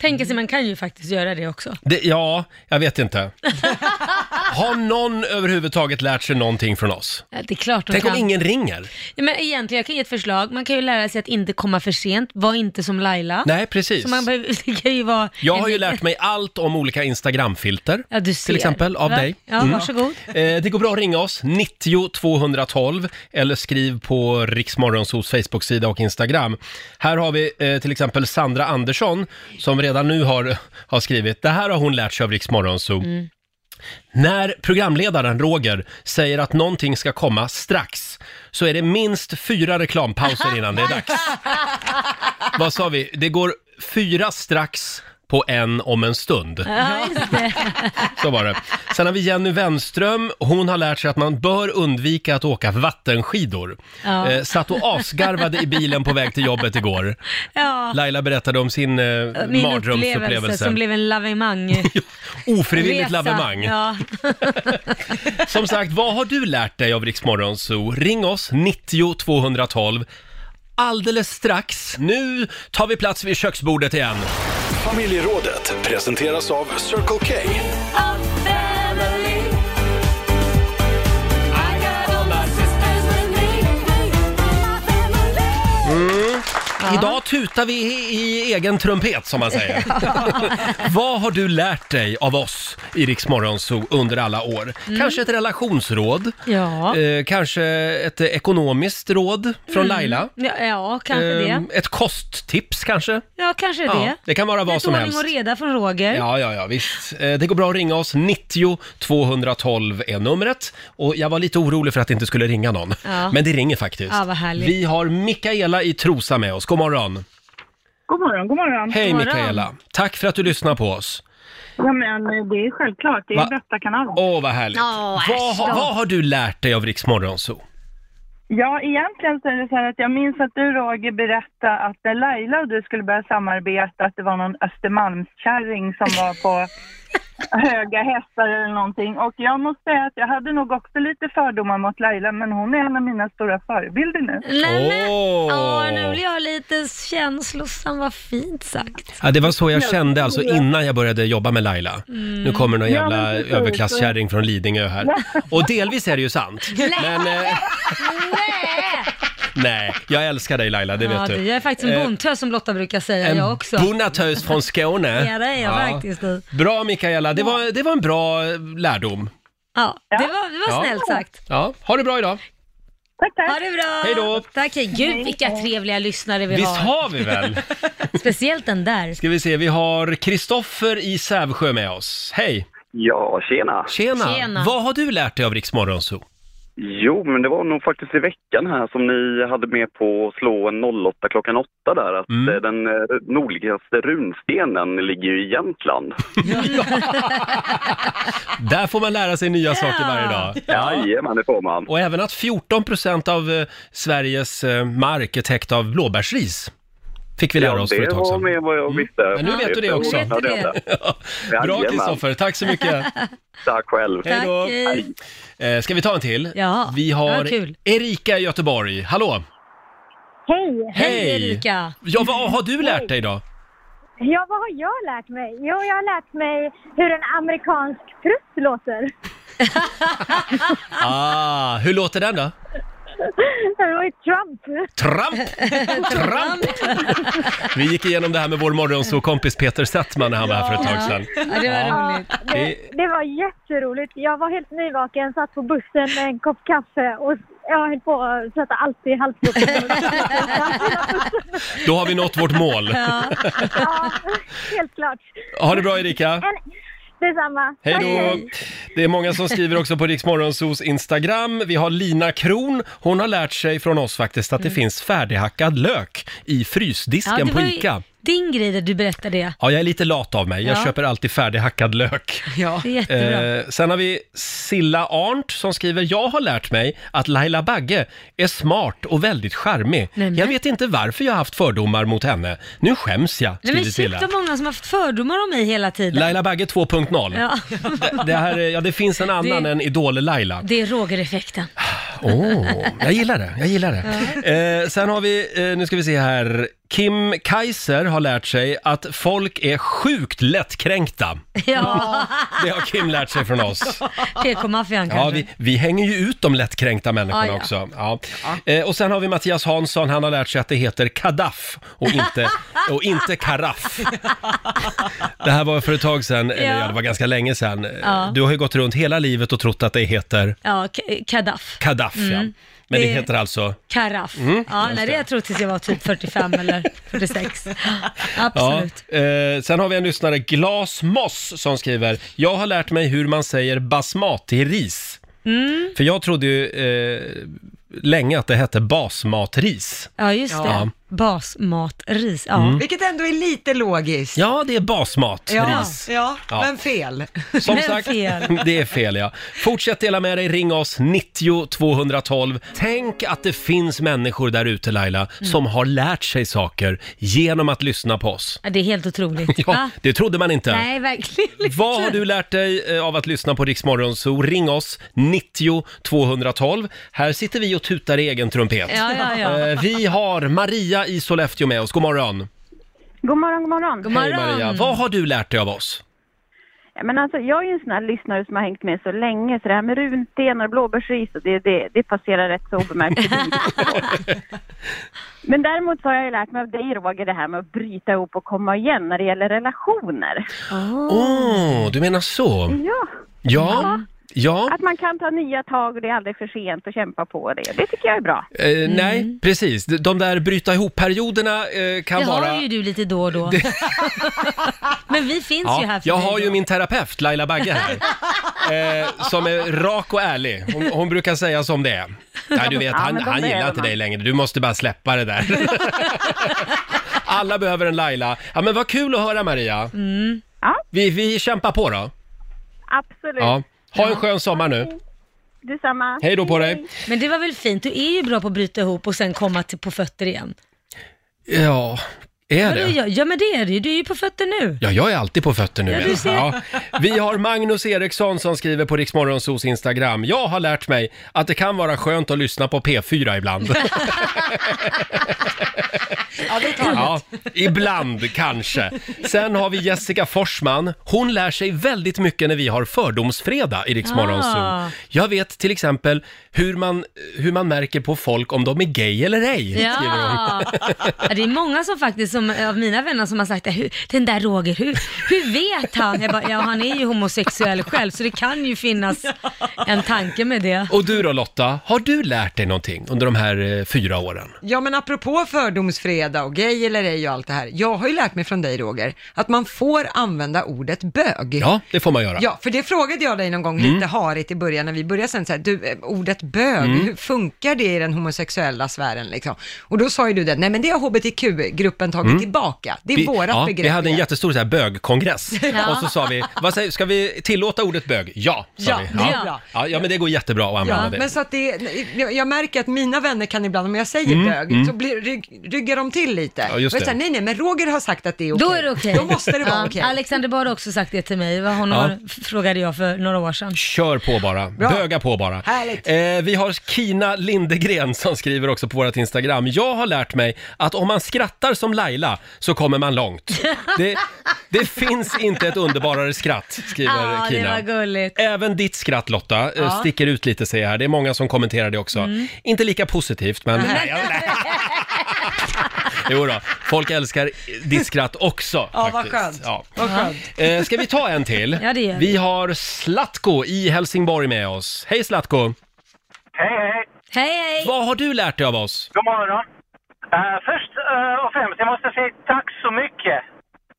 C: Tänka sig, man kan ju faktiskt göra det också.
A: Det, ja, jag vet inte. Har någon överhuvudtaget lärt sig någonting från oss?
C: Ja, Det är klart de
A: Tänk om
C: kan.
A: ingen ringer?
C: Ja, men egentligen, jag kan ge ett förslag. Man kan ju lära sig att inte komma för sent. Var inte som Laila.
A: Nej, precis.
C: Så man behöver, det kan ju vara...
A: Jag har ju lärt mig allt om olika Instagramfilter,
C: Ja, du ser.
A: till exempel, av
C: Va?
A: dig. Mm.
C: Ja, varsågod.
A: Eh, Det går bra att ringa oss, 90 212, eller skriv på Riksmorgonsos Facebook-sida och Instagram. Här har vi eh, till exempel Sandra Andersson, som redan nu har, har skrivit, det här har hon lärt sig av Riksmorgonso.
C: Mm.
A: När programledaren Roger säger att någonting ska komma strax, så är det minst fyra reklampauser innan det är dags. Vad sa vi? Det går fyra strax på en om en stund.
C: Ja, just det.
A: Så var det. Sen har vi Jenny Wenström. Hon har lärt sig att man bör undvika att åka vattenskidor.
C: Ja.
A: Eh, satt och asgarvade i bilen på väg till jobbet igår.
C: Ja.
A: Laila berättade om sin eh,
C: Min
A: mardrömsupplevelse.
C: upplevelse som blev en lavemang.
A: Ofrivilligt
C: Resa.
A: lavemang.
C: Ja.
A: Som sagt, vad har du lärt dig av Riksmorgon Zoo? Ring oss, 90 212. Alldeles strax. Nu tar vi plats vid köksbordet igen.
D: Familjerådet presenteras av Circle K.
A: Mm. Idag tutar vi i, i egen trumpet, som man säger. Vad har du lärt dig av oss i Riksmorgon Zoo under alla år?
C: Mm.
A: Kanske ett relationsråd?
C: Ja.
A: Eh, kanske ett eh, ekonomiskt råd från
C: Mm.
A: Laila?
C: Ja, ja kanske
A: Eh,
C: det.
A: Ett kosttips kanske?
C: Ja, kanske
A: Ja,
C: det.
A: det kan vara vad
C: Lite
A: som
C: ordning
A: helst.
C: och reda från Roger.
A: Ja, ja, ja, visst. Eh, Det går bra att ringa oss. 90 212 är numret. Och jag var lite orolig för att det inte skulle ringa någon.
C: Ja.
A: Men det ringer faktiskt.
C: Ja, vad härligt.
A: Vi har Mikaela i Trosa med oss. God morgon.
L: God morgon, god morgon.
A: Hej Mikaela. Tack för att du lyssnar på oss.
L: Ja, men eh, det är självklart. Det är
A: Va?
L: Västakanalen.
A: Åh, vad härligt.
L: Ja,
A: vad,
L: äsch
A: ha-
L: då.
A: vad har du lärt dig av Rix Morgonzoo?
L: Ja, egentligen så är det så här att jag minns att du Roger berättade att när Laila och du skulle börja samarbeta att det var någon Östermalmskärring som var på höga hästar eller någonting. Och jag måste säga att jag hade nog också lite fördomar mot Laila men hon är en av mina stora förebilder nu.
C: Nej, men,
A: Åh.
C: ja, nu blir jag lite känslosam, vad fint sagt.
A: Ja, det var så jag kände alltså innan jag började jobba med Laila.
C: Mm.
A: Nu kommer någon
C: Ja,
A: jävla
C: men precis.
A: överklasskärring från Lidingö här. Och delvis är det ju sant. Men eh, nej, jag älskar dig Laila, det
C: ja,
A: vet
C: du.
A: du.
C: Jag är faktiskt en
A: Eh,
C: bondtös som Lotta brukar säga,
A: En
C: jag också.
A: bonatös från Skåne.
C: Ja, det är jag faktiskt. du.
A: Bra Mikaela, det var, det var en bra eh, lärdom.
C: Ja, det var, det var
A: Ja.
C: snällt sagt.
A: Ja, ha det bra idag.
L: Tack, tack.
C: Ha det bra.
A: Hej då.
C: Tack, hej. Gud vilka trevliga lyssnare vi
A: Visst
C: har.
A: har vi väl?
C: Speciellt den där.
A: Ska vi se, vi har Kristoffer i Sävsjö med oss. Hej!
N: Ja, tjena.
A: Tjena!
N: Tjena.
A: Vad har du lärt dig av Rix Morgonzoo?
N: Jo, men det var nog faktiskt i veckan här som ni hade med på att slå en 08 klockan 8 där att
A: Mm.
N: eh, den eh, nordligaste runstenen ligger ju i Jämtland.
A: Där får man lära sig nya saker varje dag.
N: Jajamän, det får man.
A: Och även att 14% av eh, Sveriges eh, mark är täckt av blåbärsris. Fick vi lära oss för ett tag
N: Det var
A: sedan.
N: med vad jag visste.
A: Men nu vet du det också.
N: Ja, det är det.
A: Bra
N: Jajamän.
A: Kristoffer, tack så mycket.
N: Tack själv.
A: Hej då. Eh, Ska vi ta en till?
C: Ja,
A: Vi
C: det
A: har
C: var kul.
A: Erika i Göteborg. Hallå!
O: Hej!
A: Hej.
C: Hej Erika.
A: Ja, vad har du lärt dig idag?
O: Ja, vad har jag lärt mig? Jo, jag har lärt mig hur en amerikansk prutt låter.
A: Ah, hur låter den då?
O: Det var ju Trump.
A: Trump! Trump! Vi gick igenom det här med vår morgonsåkompis Peter Settman när han var här för ett tag sedan.
O: Ja, det var
A: Ja.
O: roligt. Det,
A: Det-
O: det var jätteroligt. Jag var helt nyvaken, satt på bussen med en kopp kaffe och jag höll på att sätta allt i halsgropen.
A: Då har vi nått vårt mål.
O: Ja. ja, helt klart.
A: Ha det bra, Erika.
O: En- Detsamma.
A: Hej
O: Tack,
A: då! Det är många som skriver också på Riksmorgonsos Instagram. Vi har Lina Kron. Hon har lärt sig från oss faktiskt att det finns färdighackad lök i frysdisken
C: det
A: på
C: var ju
A: ICA.
C: din grej där du berättade det.
A: Ja, jag är lite lat av mig. Jag
C: Ja.
A: köper alltid färdighackad lök.
C: Det är jättebra.
A: Eh, sen har vi Silla Arndt som skriver, jag har lärt mig att Laila Bagge är smart och väldigt charmig. Jag vet inte varför jag har haft fördomar mot henne. Nu skäms jag,
C: Nej, men
A: skriver
C: shit
A: Silla.
C: vad många som har haft fördomar om mig hela tiden.
A: Laila Bagge 2.0.
C: Ja.
A: Det, det, här, är- ja, det finns en annan
C: Det-
A: än Idol-Laila.
C: Det är Roger-effekten.
A: Åh, jag gillar det. Jag gillar det. Eh, sen har vi, eh, nu ska vi se här, Kim Kaiser har lärt sig att folk är sjukt lättkränkta.
C: Ja.
A: Det har Kim lärt sig från oss.
C: PK-maffian kanske.
A: Ja, vi, vi hänger ju ut de lättkränkta människorna
C: Ah, ja.
A: också. Ja. Eh, och sen har vi Mattias Hansson, han har lärt sig att det heter kadaff och inte, och inte karaff. Det här var för ett tag sedan, eller
C: Ja.
A: ja, det var ganska länge sedan.
C: Ja.
A: Du har ju gått runt hela livet och trott att det heter
C: Ja, K- Kadaff.
A: kadaff, ja.
C: Mm.
A: Men det
C: Det-
A: heter alltså...
C: Karaff.
A: Mm,
C: ja,
A: just
C: nej, det
A: det.
C: jag tror tills jag var typ 45 eller 46. Absolut.
A: Ja. Eh, sen har vi en lyssnare, Glas Moss, som skriver “Jag har lärt mig hur man säger basmati-ris”.
C: Mm.
A: För jag trodde ju eh, länge att det hette basmatris.
C: Ja, just det.
A: Ja.
C: Basmatris. Ja.
A: Mm.
B: Vilket ändå är lite logiskt.
A: Ja, det är basmat,
B: Ja,
A: ris.
B: ja,
A: Ja.
B: men fel.
A: Som sagt, det är fel ja. Fortsätt dela med dig, ring oss 90 212. Tänk att det finns människor där ute Laila,
C: Mm.
A: som har lärt sig saker genom att lyssna på oss.
C: Ja, Det är helt otroligt.
A: Ja,
C: Va?
A: det trodde man inte.
C: Nej, verkligen inte.
A: Vad har du lärt dig eh, av att lyssna på Riksmorgon så ring oss 90 212. Här sitter vi och tutar i egen trumpet.
O: Ja, ja, ja.
A: Eh, Vi har Maria i Sollefteå med oss, god morgon.
O: God morgon, god morgon.
A: Hej Maria, vad har du lärt dig av oss?
O: Ja, Men alltså, jag är ju en sån här lyssnare som har hängt med så länge, så det här med runstenar och blåbärsris, och det, det, det passerar rätt så obemärkt förbi. Men däremot så har jag ju lärt mig av dig Roger, det här med att bryta ihop och komma igen när det gäller relationer.
P: Ah.
A: Åh, du menar så?
O: Ja.
A: Ja, ja.
O: Att man kan ta nya tag och det är aldrig för sent att kämpa på det. Det tycker jag är bra.
A: Eh,
C: Mm.
A: Nej, precis. De- De där bryta ihop-perioderna eh, kan
C: det
A: vara...
C: har ju du lite då och då. Men vi finns ju här för
A: jag
C: dig
A: har
C: då.
A: ju min terapeut Laila Bagge här. Eh, som är rak och ärlig. Hon, hon brukar säga som det är. Nej, du vet,
C: Ja,
A: han,
C: men de
A: han gillar
C: behöver
A: inte
C: man.
A: dig längre. Du måste bara släppa det där. Alla behöver en Laila. Ja, men vad kul att höra Maria.
C: Mm.
A: Vi, vi kämpar på då.
O: Absolut.
A: Ja. Ha en skön sommar nu.
O: Detsamma.
A: Hej då på dig.
C: Men det var väl fint? Du är ju bra på att bryta ihop och sen komma till, på fötter igen.
A: Ja, är
C: Vadå,
A: det?
C: Ja, ja, men det är det ju. Du är ju på fötter nu.
A: Ja, jag är alltid på fötter nu.
C: Ja,
A: Ellen.
C: du ser.
A: Vi har Magnus Eriksson som skriver på Riksmorgonsos Instagram. Jag har lärt mig att det kan vara skönt att lyssna på P4 ibland.
B: Ja, det tar
A: Ja, ibland kanske. Sen har vi Jessica Forsman. Hon lär sig väldigt mycket när vi har fördomsfredag i Riksmorgon
C: Ah.
A: ah. Jag vet till exempel hur man, hur man märker på folk om de är gay eller ej,
C: Ja.
A: skriver hon.
C: Ja, Det är många som faktiskt, som, av mina vänner som har sagt hur, den där Roger, hur, hur vet han? Jag bara, ja, han är ju homosexuell själv, så det kan ju finnas en tanke med det.
A: Och du då Lotta, har du lärt dig någonting under de här eh, fyra åren?
B: Ja men apropå fördomsfredag och gay eller ej och allt det här. Jag har ju lärt mig från dig Roger, att man får använda ordet bög.
A: Ja, det får man göra.
B: Ja, för det frågade jag dig någon gång
A: Mm.
B: lite harigt i början när vi började sen så här, du, eh, ordet bög,
A: Mm.
B: hur funkar det i den homosexuella sfären liksom? Och då sa ju du det, nej men det har hbtq-gruppen tagit
A: Mm.
B: tillbaka, det är
A: vi,
B: vårat
A: ja,
B: begrepp.
A: Vi hade en jättestor så här bögkongress
B: Ja.
A: och så sa vi, vad säger, ska vi tillåta ordet bög? Ja, sa
B: Ja,
A: vi.
B: det är bra.
A: Ja, ja, men det går jättebra att använda
B: Ja,
A: det.
B: men så att det, jag, jag märker att mina vänner kan ibland, om jag säger
A: Mm,
B: bög,
A: mm.
B: så blir, rygg, ryggar de till lite.
A: Ja, just
B: och jag
A: det.
B: säger, nej, nej, men Roger har sagt att det är okej.
C: Då är det okej.
B: Då måste det vara
C: Ja,
B: okej.
C: Alexander Bard har också sagt det till mig, Vad hon
A: Ja.
C: har, frågade jag för några år sedan.
A: Kör på bara, böga på bara.
C: Härligt.
A: Eh, vi har Kina Lindegren som skriver också på vårt Instagram. Jag har lärt mig att om man skrattar som Laila så kommer man långt. Det, det finns inte ett underbarare skratt, skriver
C: Ja, det
A: Kina.
C: var gulligt.
A: Även ditt skratt Lotta eh,
C: Ja.
A: sticker ut lite ser jag här. Det är många som kommenterar det också.
C: Mm.
A: Inte lika positivt men... Nej, jag- nej. Jo då, folk älskar ditt skratt också.
B: Ja, vad
A: faktiskt.
B: skönt.
A: Ja.
B: Vad skönt.
A: Eh, ska vi ta en till?
B: Ja, det gör vi.
A: vi har Slatko i Helsingborg med oss. Hej Slatko!
Q: Hej, hej!
C: Hej, hej!
A: Vad har du lärt dig av oss?
Q: God morgon! Eh, först eh, och främst, jag måste säga tack så mycket!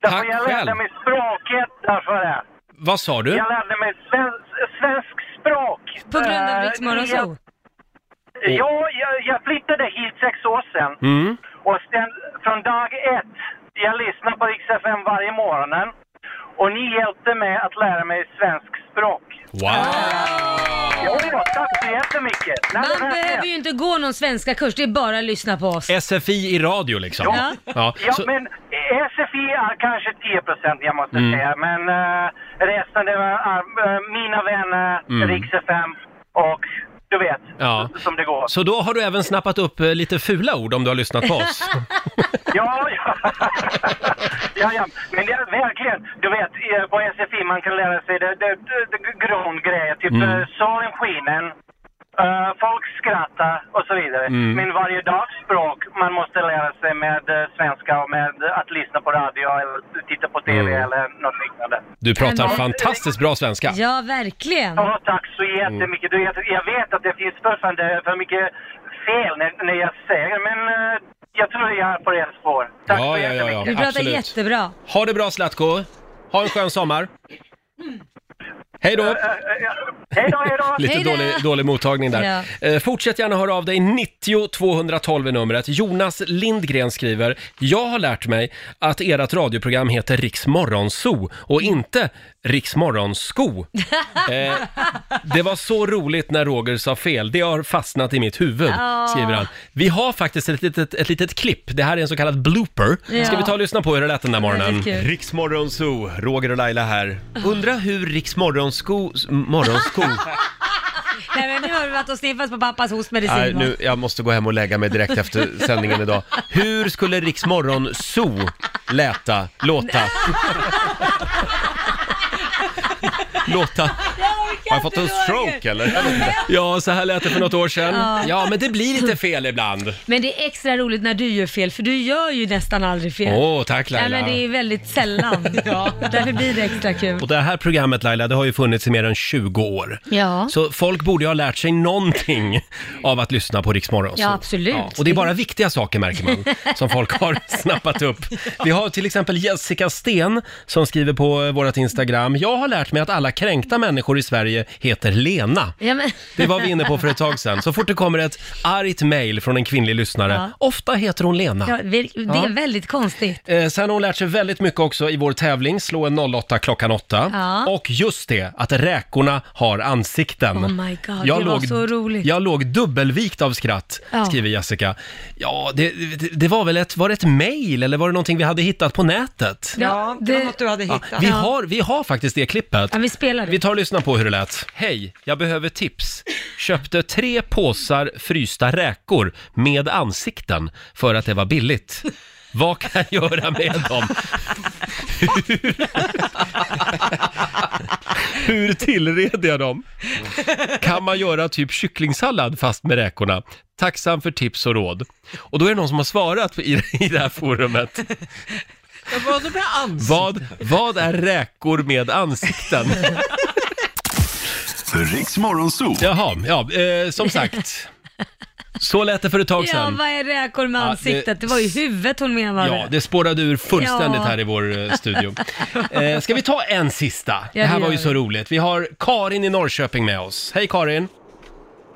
Q: Därför
A: Tack
Q: jag lärde
A: själv.
Q: mig språket därför det.
A: Vad sa du?
Q: Jag lärde mig svensk, svensk språk.
C: På grund av
Q: Eh,
C: Rix Morgonzoo.
Q: jag- Ja, jag, jag flyttade hit sex år sedan.
A: Mm.
Q: Och sen från dag ett, jag lyssnar på Rix FM varje morgon. Och ni hjälpte mig att lära mig svensk språk.
A: Wow!
Q: Jo, jo, tack så jättemycket! Nej,
C: Man
Q: men verkligen.
C: behöver ju inte gå någon svenska kurs, det är bara att lyssna på oss.
A: SFI i radio liksom.
C: Ja.
A: Ja,
Q: Ja,
A: så,
Q: men SFI är kanske 10 procent, jag måste
A: Mm.
Q: säga. Men eh, resten, det var eh, mina vänner,
A: Mm.
Q: Rix FM och du vet,
A: ja.
Q: som det går.
A: så då har du även snappat upp eh, lite fula ord om du har lyssnat på oss.
Q: ja, ja. ja, ja. Men det, verkligen, du vet, eh, på SFI man kan lära sig det, det, det, det grundgrejer. Typ
A: Mm.
Q: eh, solen skiner, eh, folk skrattar och så vidare.
A: Mm.
Q: Men varje dags språk man måste lära sig med eh, svenska och med att lyssna på radio eller titta på TV
A: Mm.
Q: eller något liknande.
A: Du pratar
Q: Men-
A: fantastiskt bra svenska.
C: Ja, verkligen.
Q: Ja, tack så jättemycket. Du, jag, jag vet att det finns fortfarande för mycket fel när, när jag säger men eh, jag tror jag är på rätt spår. Tack
A: Ja,
Q: så
A: ja, ja,
Q: jättemycket.
A: ja.
C: Du pratar
A: Absolut.
C: jättebra.
A: Ha det bra Zlatko! Ha en skön sommar! Hej då!
Q: Eh, Hej då, hej då!
A: Lite dålig, dålig mottagning där. Eh, fortsätt gärna höra av dig. 90 212 är numret. Jonas Lindgren skriver, jag har lärt mig att ert radioprogram heter Riks Morgonzoo och inte Riks Morgonsko. Eh, det var så roligt när Roger sa fel. Det har fastnat i mitt huvud,
C: Ja.
A: skriver han. Vi har faktiskt ett litet, ett litet klipp. Det här är en så kallad blooper.
C: Ja.
A: Ska vi ta och lyssna på hur det lät den där morgonen?
C: Väldigt kul.
A: Riks Morgonzoo, Roger och Laila här. Undra hur Riks Morgonsko... Morgonsko
C: Nej men nu har du varit och sniffat på pappas
A: Nej,
C: hostmedicin
A: nu,
C: nu...
A: jag måste gå hem och lägga mig direkt efter sändningen idag. Hur skulle Riksmorgon Zoo läta, låta? låta? Har jag fått en stroke eller? Ja, så här lät det för något år
C: Ja.
A: sedan. Ja, men det blir lite fel ibland.
C: Men det är extra roligt när du gör fel, för du gör ju nästan aldrig fel.
A: Åh, tack Äh, Laila.
C: Nej men det är väldigt sällan. ja. Därför blir det extra kul.
A: Och det här programmet Laila, det har ju funnits i mer än 20 år.
C: Ja.
A: Så folk borde ju ha lärt sig någonting av att lyssna på Riksmorgon.
C: Ja, absolut.
A: Och det är bara viktiga saker märker man, som folk har snappat upp. Vi har till exempel Jessica Sten som skriver på vårt Instagram. Jag har lärt mig att alla kränkta människor i Sverige heter Lena.
C: Ja, men...
A: Det var vi inne på för ett tag sedan. Så fort det kommer ett argt mejl från en kvinnlig lyssnare,
C: Ja.
A: ofta heter hon Lena.
C: Ja, det är
A: Ja.
C: väldigt konstigt.
A: Eh, sen har hon lärt sig väldigt mycket också i vår tävling, slå en 08 klockan 8.
C: Ja.
A: Och just det, att räkorna har ansikten.
C: Oh my God, det var så roligt.
A: Jag låg dubbelvikt av skratt,
C: Ja.
A: skriver Jessica. Ja, det, det, det var väl ett, var det ett mejl eller var det någonting vi hade hittat på nätet?
B: Ja, det var något du hade
A: Ja,
B: hittat.
A: vi, har, vi har faktiskt det klippet.
C: vi spelar
A: Vi tar och lyssnar på hur det lät. Hej, jag behöver tips. Köpte tre påsar frysta räkor med ansikten för att det var billigt. Vad kan jag göra med dem? Hur, hur tillreder jag dem? Kan man göra typ kycklingsallad fast med räkorna? Tacksam för tips och råd. Och då är det någon som har svarat i, i det här forumet.
B: Vad med ans?
A: Vad, vad är räkor med ansikten?
D: Riks Morgonzoo.
A: Jaha, ja, eh, som sagt. Så lät det för ett tag
C: Ja,
A: sedan.
C: vad är räkor med
A: Ja, det-
C: ansiktet? det... var ju huvudet hon menade.
A: Ja, det spårade ur fullständigt
C: Ja.
A: här i vår eh, studio. Eh, ska vi ta en sista?
C: det
A: Det här var ju
C: gör vi.
A: så roligt. Vi har Karin i Norrköping med oss. Hej Karin!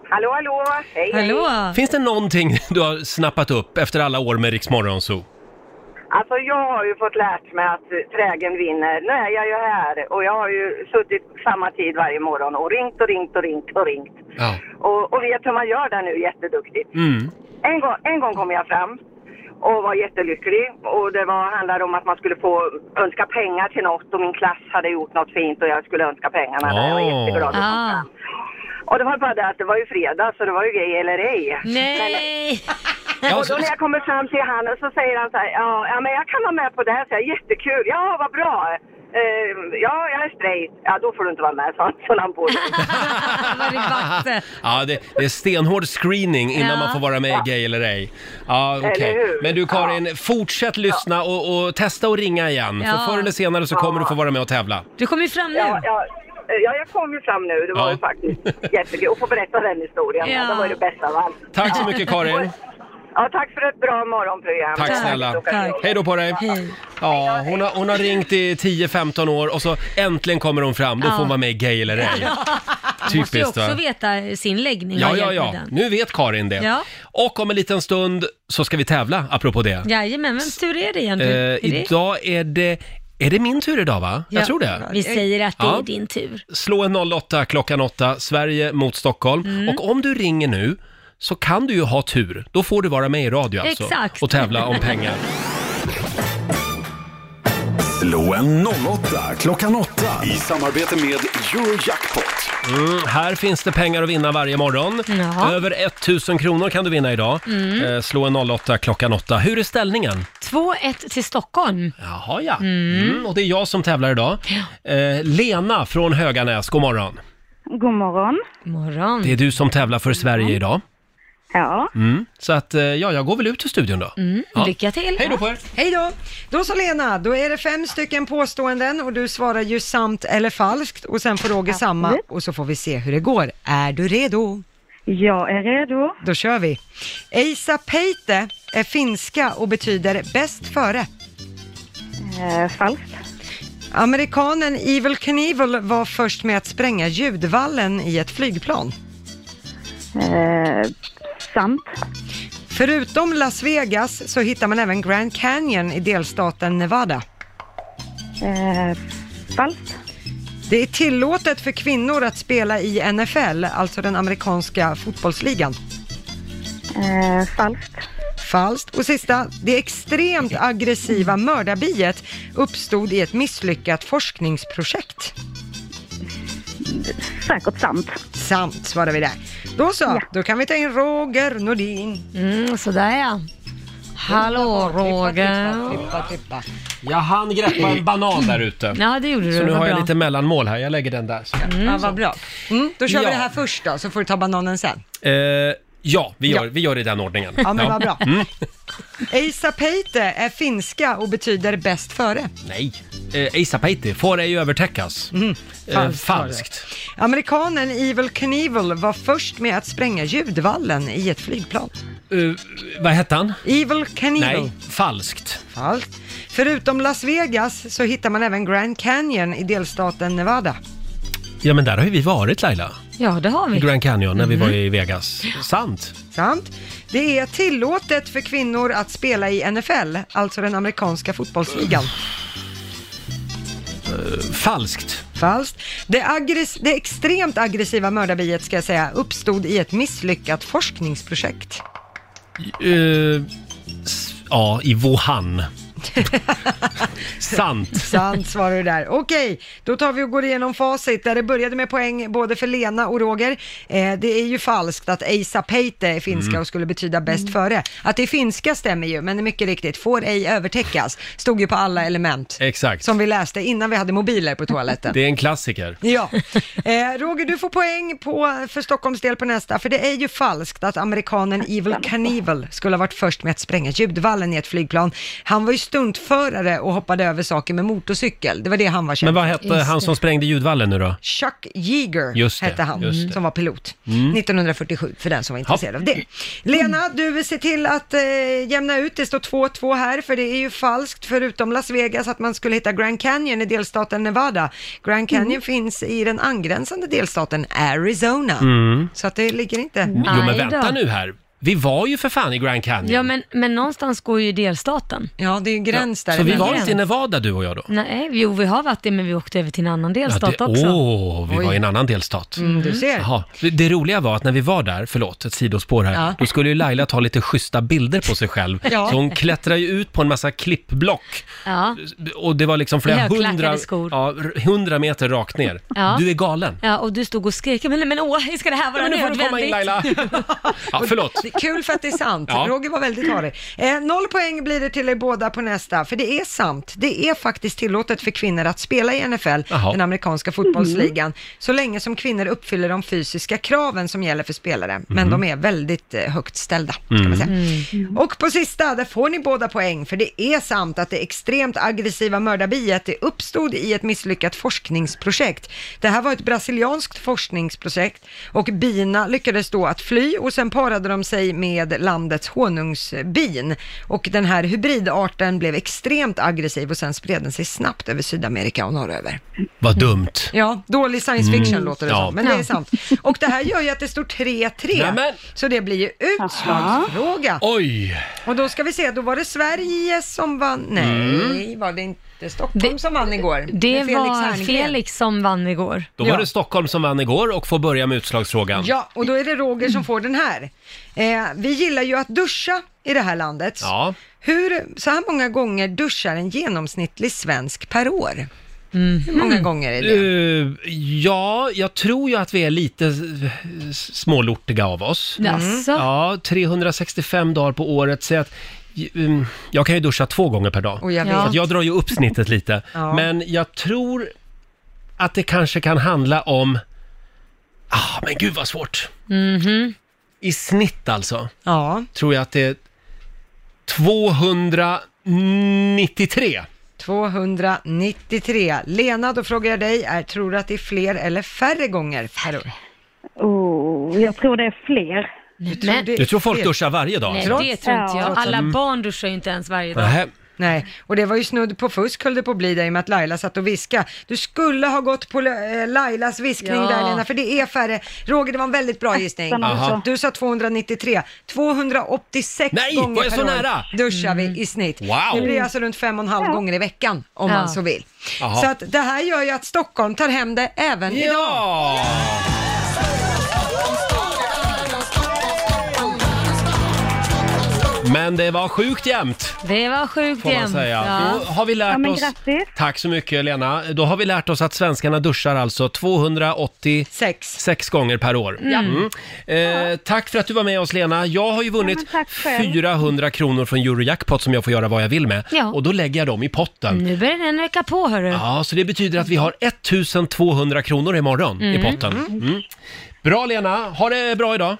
R: Hallå, hallå! Hej, hej!
A: Finns det någonting du har snappat upp efter alla år med Rix Morgonzoo?
R: Alltså, jag har ju fått lärt mig att eh, trägen vinner. Nu är jag ju här och jag har ju suttit samma tid varje morgon och ringt och ringt och ringt och ringt.
A: Ja.
R: Och, och vet hur man gör det nu jätteduktigt.
A: Mm.
R: En gång, en gång kom jag fram och var jättelycklig och det var, handlade om att man skulle få önska pengar till något och min klass hade gjort något fint och jag skulle önska pengarna. Jag var
A: Ah.
P: Åh.
R: jätteglad. och kom fram. Och det var bara det att det var ju fredag så det var ju grej eller ej.
C: Nej!
A: Ja,
R: och då
A: så-
R: när jag kommer fram till han så säger han så här, ja, ja men jag kan vara med på det här, så jag, jättekul, ja vad bra. Eh, ja, jag är straight. Ja, då får du inte vara med, sa han, så han på sig.
A: Ja, det, det är stenhård screening innan
R: Ja.
A: man får vara med i Gay eller ej. Ja, okej.
R: Eller hur?
A: Men du Karin, fortsätt lyssna och, och testa att ringa igen.
R: Ja.
A: För förr eller senare så kommer
R: Ja.
A: du få vara med och tävla.
C: Du kom ju fram nu.
R: Ja, ja, eh, ja jag kom ju fram nu. Det var
A: Ja.
R: ju faktiskt jättekul att få berätta den historien.
A: Ja.
R: Det var ju det bästa av allt.
A: Tack så mycket Karin.
R: Ja, tack för ett bra morgonprogram.
A: Tack snälla.
R: Tack.
A: Hej då på dig. Ja, hon har, hon har ringt i 10-15 år och så äntligen kommer hon fram. Då får
C: Ja.
A: hon vara med i Gay eller ej.
C: Man måste ju
A: Typiskt,
C: också
A: va?
C: veta sin läggning.
A: Ja,
C: vad
A: ja,
C: hjälper
A: ja.
C: den?
A: Nu vet Karin det.
C: Ja.
A: Och om en liten stund så ska vi tävla, apropå det.
C: Jajamän, vems tur är det
A: Eh,
C: egentligen? Är det-
A: idag är det... Är det min tur idag va?
C: Ja,
A: Jag tror det.
C: Vi säger att det
A: Ja.
C: är din tur.
A: Slå en 08 klockan 8, Sverige mot Stockholm.
C: Mm.
A: Och om du ringer nu så kan du ju ha tur. Då får du vara med i radio alltså.
D: Exakt.
A: Och tävla om pengar.
D: Slå en 08 klockan 8 i samarbete med Eurojackpot.
A: Mm, här finns det pengar att vinna varje morgon.
D: Ja.
A: Över 1000 kronor kan du vinna idag.
C: Mm.
A: Eh, slå en 08 klockan 8. Hur är ställningen?
C: 2-1 till Stockholm.
A: Jaha ja. Mm, och det är jag som tävlar idag. Eh, Lena från Höganäs, god morgon.
P: God morgon.
C: morgon.
A: Det är du som tävlar för Sverige idag.
P: Ja.
A: Mm. Så att, eh, ja, jag går väl ut ur studion då.
B: Mm.
A: Ja. Hej då på er!
B: Hej då! Då så Lena, då är det fem stycken påståenden och du svarar ju sant eller falskt och sen får Roger samma och så får vi se hur det går. Är du redo?
P: Jag är redo.
B: Då kör vi. Eisa Peite är finska och betyder bäst före.
P: Eh, falskt.
B: Amerikanen Evil Knievel var först med att spränga ljudvallen i ett flygplan.
P: Eh, sant.
B: Förutom Las Vegas så hittar man även Grand Canyon i delstaten Nevada.
P: Eh, falskt.
B: Det är tillåtet för kvinnor att spela i NFL, alltså den amerikanska fotbollsligan.
P: Eh, falskt.
B: Falskt. Och sista, det extremt aggressiva mördarbiet uppstod i ett misslyckat forskningsprojekt.
P: Säkert sant.
B: Sant svarar vi där. Då så, då kan vi ta in Roger Nordin.
C: Mm, sådär ja. Hallå Roger.
A: Jag hann greppa en banan där ute.
C: Ja, det gjorde du.
A: Så nu
C: Vad
A: har jag
C: bra.
A: lite mellanmål här. Jag lägger den där. Så.
B: Ja, vad bra. Mm, då kör
A: Ja.
B: vi det här först då, så får du ta bananen sen.
A: Eh, ja, vi gör,
B: Ja.
A: vi gör det i den ordningen. Mm.
B: Ja, men vad bra. Eisa Peite är finska och betyder bäst före.
A: Nej, eh, Asa Peiti, får ej övertäckas. Eh,
B: falskt var det.
A: falskt.
B: Amerikanen Evil Knievel var först med att spränga ljudvallen i ett flygplan.
A: Eh, vad hette han?
B: Evil Knievel.
A: Nej, falskt.
B: Falskt. Förutom Las Vegas så hittar man även Grand Canyon i delstaten Nevada.
A: Ja, men där har ju vi varit Laila.
C: Ja, det har
A: I
C: vi.
A: Grand Canyon när vi
B: Mhm.
A: var i Vegas. Sant.
B: Sant. Det är tillåtet för kvinnor att spela i NFL, alltså den amerikanska fotbollsligan.
A: Eh, falskt.
B: Falskt. Det, aggress- det extremt aggressiva mördarbiet, ska jag säga, uppstod i ett misslyckat forskningsprojekt.
A: Eh, s- ja, i Wuhan. Sant.
B: Sant svarar du där. Okej, då tar vi och går igenom facit där det började med poäng både för Lena och Roger. Eh, det är ju falskt att Eisa Peite är finska
C: Mm.
B: och skulle betyda bäst före. Att det är finska stämmer ju, men mycket riktigt, får ej övertäckas, stod ju på alla element.
A: Exakt.
B: Som vi läste innan vi hade mobiler på toaletten.
A: Det är en klassiker.
B: Ja. Eh, Roger, du får poäng på, för Stockholms del på nästa, för det är ju falskt att amerikanen Evil Knievel skulle ha varit först med att spränga ljudvallen i ett flygplan. Han var ju stuntförare och hoppade över saker med motorcykel. Det var det han var känd
A: Men vad
B: för.
A: hette han som sprängde ljudvallen nu då?
B: Chuck Yeager
A: Just det,
B: hette han,
A: just det.
B: som var pilot.
A: Mm.
B: 1947, för den som var intresserad
A: Ja.
B: av det. Lena, du ser till att eh, jämna ut. Det står 2-2 här, för det är ju falskt, förutom Las Vegas, att man skulle hitta Grand Canyon i delstaten Nevada. Grand Canyon finns i den angränsande delstaten Arizona.
A: Mm.
B: Så att det ligger inte...
A: Jo men vänta nu här. Vi var ju för fan i Grand Canyon.
C: Ja, men, men någonstans går ju delstaten.
B: Ja, det är ju gräns
A: Så vi var inte i Nevada du och jag då?
C: Nej, jo vi har varit det, men vi åkte över till en annan delstat
A: det,
C: också.
A: Åh, vi
C: Oj.
A: var i en annan delstat.
C: Mm, du ser.
A: Jaha. Det, det roliga var att när vi var där, förlåt, ett sidospår här,
C: Ja.
A: då skulle ju Laila ta lite schyssta bilder på sig själv.
C: Ja.
A: Så hon klättrade ju ut på en massa klippblock
C: Ja.
A: och det var liksom flera
C: Högklackade
A: hundra,
C: skor.
A: ja, r- hundra meter rakt ner.
C: Ja.
A: Du är galen.
C: ja, och du stod och skrek, men, men åh, ska det här vara
A: Ja, men nu får du komma in,
C: nödvändigt?
A: Ja, förlåt.
B: Det är kul för att det är sant.
A: Ja.
B: Roger var väldigt harig. Eh, noll poäng blir det till er båda på nästa, för det är sant. Det är faktiskt tillåtet för kvinnor att spela i NFL,
A: Jaha.
B: den amerikanska fotbollsligan, så länge som kvinnor uppfyller de fysiska kraven som gäller för spelare. Men
A: Mhm.
B: de är väldigt eh, högt ställda, ska man säga. Och på sista, där får ni båda poäng, för det är sant att det extremt aggressiva mördarbiet det uppstod i ett misslyckat forskningsprojekt. Det här var ett brasilianskt forskningsprojekt och bina lyckades då att fly och sen parade de sig med landets honungsbin. Och den här hybridarten blev extremt aggressiv och sen spred den sig snabbt över Sydamerika och norröver.
A: Vad dumt.
B: Ja, dålig science fiction
A: Mm.
B: låter det
A: Ja.
B: som, men det är
A: Ja.
B: sant. Och det här gör ju att det står 3-3,
A: Nämen.
B: så det blir ju utslagsfråga.
A: Oj!
B: Och då ska vi se, då var det Sverige som vann.
A: Mm.
B: Nej, var det inte Stockholm som vann igår?
C: Det
B: Med Felix
C: var
B: Herngren.
C: Felix som vann igår.
A: Då var det Stockholm som vann igår och får börja med utslagsfrågan.
B: Ja, och då är det Roger som får den här. Eh, vi gillar ju att duscha i det här landet.
A: Ja.
B: Hur, så här många gånger duschar en genomsnittlig svensk per år?
C: Mm.
B: Hur
A: Mm.
B: många gånger är det?
A: Eh, ja, jag tror ju att vi är lite eh, s- smålortiga av oss.
C: Jaså?
A: Ja, 365 dagar på året. Så att, j- um, jag kan ju duscha två gånger per dag.
B: Och jag vet.
A: Så att jag drar ju upp snittet lite.
B: Ja.
A: Men jag tror att det kanske kan handla om... Ah, men gud vad svårt! I snitt alltså,
B: Ja,
A: tror jag att det är 293.
B: 293. Lena, då frågar jag dig, är, tror du att det är fler eller färre gånger per år?
P: Oh, jag tror det är fler.
B: Du
C: Men-
B: det är
A: Du tror folk
B: fler?
A: duschar varje dag?
C: Nej,
A: alltså?
C: det tror inte jag.
B: Trots-
C: Alla
B: Mm.
C: barn duschar ju inte ens varje dag.
A: Nähä.
B: Nej, och det var ju snudd på fusk höll det på att bli där i och med att Laila satt och viska. Du skulle ha gått på eh, Lailas viskning
C: Ja.
B: där Lena, för det är färre. Roger, det var en väldigt bra gissning.
A: Nästan alltså. Aha.
B: Du sa 293. 286
A: Nej,
B: gånger
A: var jag
B: per
A: så
B: år
A: nära?
B: duschar vi i snitt.
A: Wow.
B: Det blir alltså runt fem och en halv gånger i veckan om
A: Ja.
B: man så vill.
A: Jaha.
B: Så att det här gör ju att Stockholm tar hem det även idag.
A: Ja! Men det var sjukt jämnt,
C: Det var sjukt
A: får man
C: jämnt.
A: säga.
C: Ja.
A: Då har vi lärt oss... Tack så mycket Lena. Då har vi lärt oss att svenskarna duschar alltså 286 sex gånger per år.
F: Ja.
A: Eh, tack för att du var med oss Lena. Jag har ju vunnit 400 kronor från Eurojackpot som jag får göra vad jag vill med.
C: Ja. Mm.
A: Och då lägger jag dem i potten.
C: Nu börjar den öka på hörru.
A: Ja, så det betyder att vi har 1200 kronor imorgon
C: Mm.
A: i potten. Mm. Bra Lena, ha det bra idag.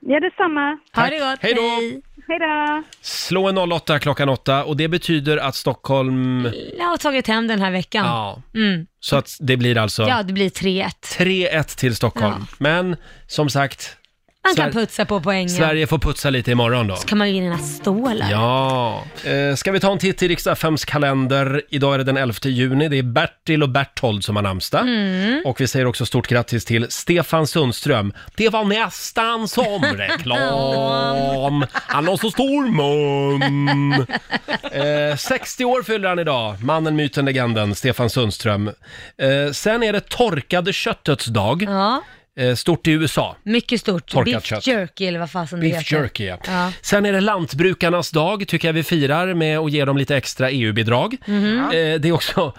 P: Ja, detsamma.
A: Ha det Tack. gott. Hej då. Hej.
P: Hej då.
A: Slå en 08 klockan 8 och det betyder att Stockholm...
C: Jag har tagit hem den här veckan.
A: Ja,
C: Mm.
A: så att det blir alltså
C: ja det blir 3-1.
A: 3-1 till Stockholm.
C: Ja.
A: Men som sagt,
C: Man kan
A: Sver-
C: putsa på poängen.
A: Sverige får putsa lite imorgon då.
C: Så kan man ju vinna stålar.
A: Ja. Eh, ska vi ta en titt i riksdagsfems kalender? Idag är det den 11 juni. Det är Bertil och Berthold som har namnsdag.
F: Mm.
A: Och vi säger också stort grattis till Stefan Sundström. Det var nästan som reklam. Han har så stor mun. Eh, 60 år fyller han idag. Mannen, myten, legenden Stefan Sundström. Eh, sen är det torkade köttets dag. Eh, stort i USA.
C: Mycket stort.
A: Torkat
C: Beef
A: kött.
C: jerky eller vad fasen det
A: Beef
C: heter.
A: jerky, ja.
C: Ja.
A: Sen är det lantbrukarnas dag, tycker jag vi firar med att ge dem lite extra EU-bidrag.
C: Mhm.
A: Eh, det är också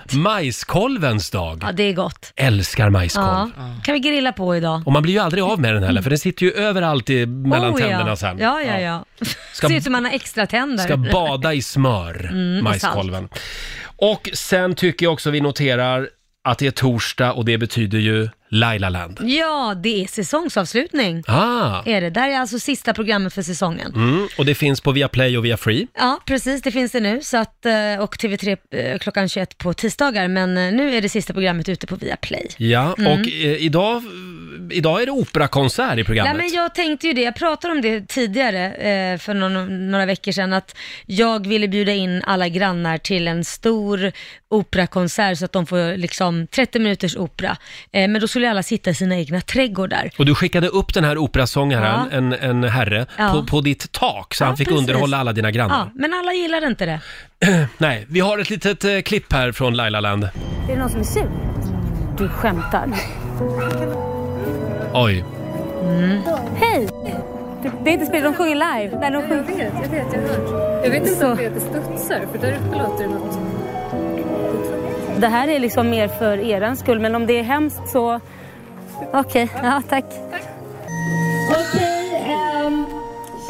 A: majskolvens dag.
C: ja, det är gott.
A: Älskar majskolv.
C: Ja. Kan vi grilla på idag?
A: Och man blir ju aldrig av med den heller, för den sitter ju överallt i, mellan
C: Oh,
A: tänderna
C: ja.
A: sen.
C: Ja, ja, ja.
A: Ska-
C: Ser ut som man har extra tänder.
A: Ska bada i smör,
C: Mm, och
A: majskolven. Och sen tycker jag också vi noterar att det är torsdag och det betyder ju Lailaland.
C: Ja, det är säsongsavslutning.
A: Ah.
C: Är det. Där är alltså sista programmet för säsongen.
A: Mm, och det finns på Viaplay och Viafree.
C: Ja, precis. Det finns det nu. Så att, eh, och TV3 eh, klockan 21 på tisdagar. Men eh, nu är det sista programmet ute på Viaplay.
A: Ja,
C: Mm.
A: och eh, idag, idag är det operakonsert i programmet.
C: Nej, men jag tänkte ju det. Jag pratade om det tidigare eh, för någon, några veckor sedan. Att jag ville bjuda in alla grannar till en stor operakonsert så att de får liksom 30 minuters opera. Eh, men då skulle alla sitta i sina egna trädgårdar.
A: Och du skickade upp den här operasångaren,
C: Ja.
A: en, en herre,
C: Ja.
A: på, på ditt tak så han fick
C: precis.
A: underhålla alla dina
C: Ja,
A: grannar.
C: men alla gillade inte det.
A: Nej, vi har ett litet eh, klipp här från Lailaland.
S: Är det någon som är sur? Du skämtar.
A: Oj.
S: Hej! Det är inte spel, de sjunger live. När de sjunger. Jag vet, jag vet, jag hört. Jag vet inte om det heter studsar, för där uppe låter det något. Det här är liksom mer för er skull, men om det är hemskt så... Okej, ja tack.
T: Okej, ehm,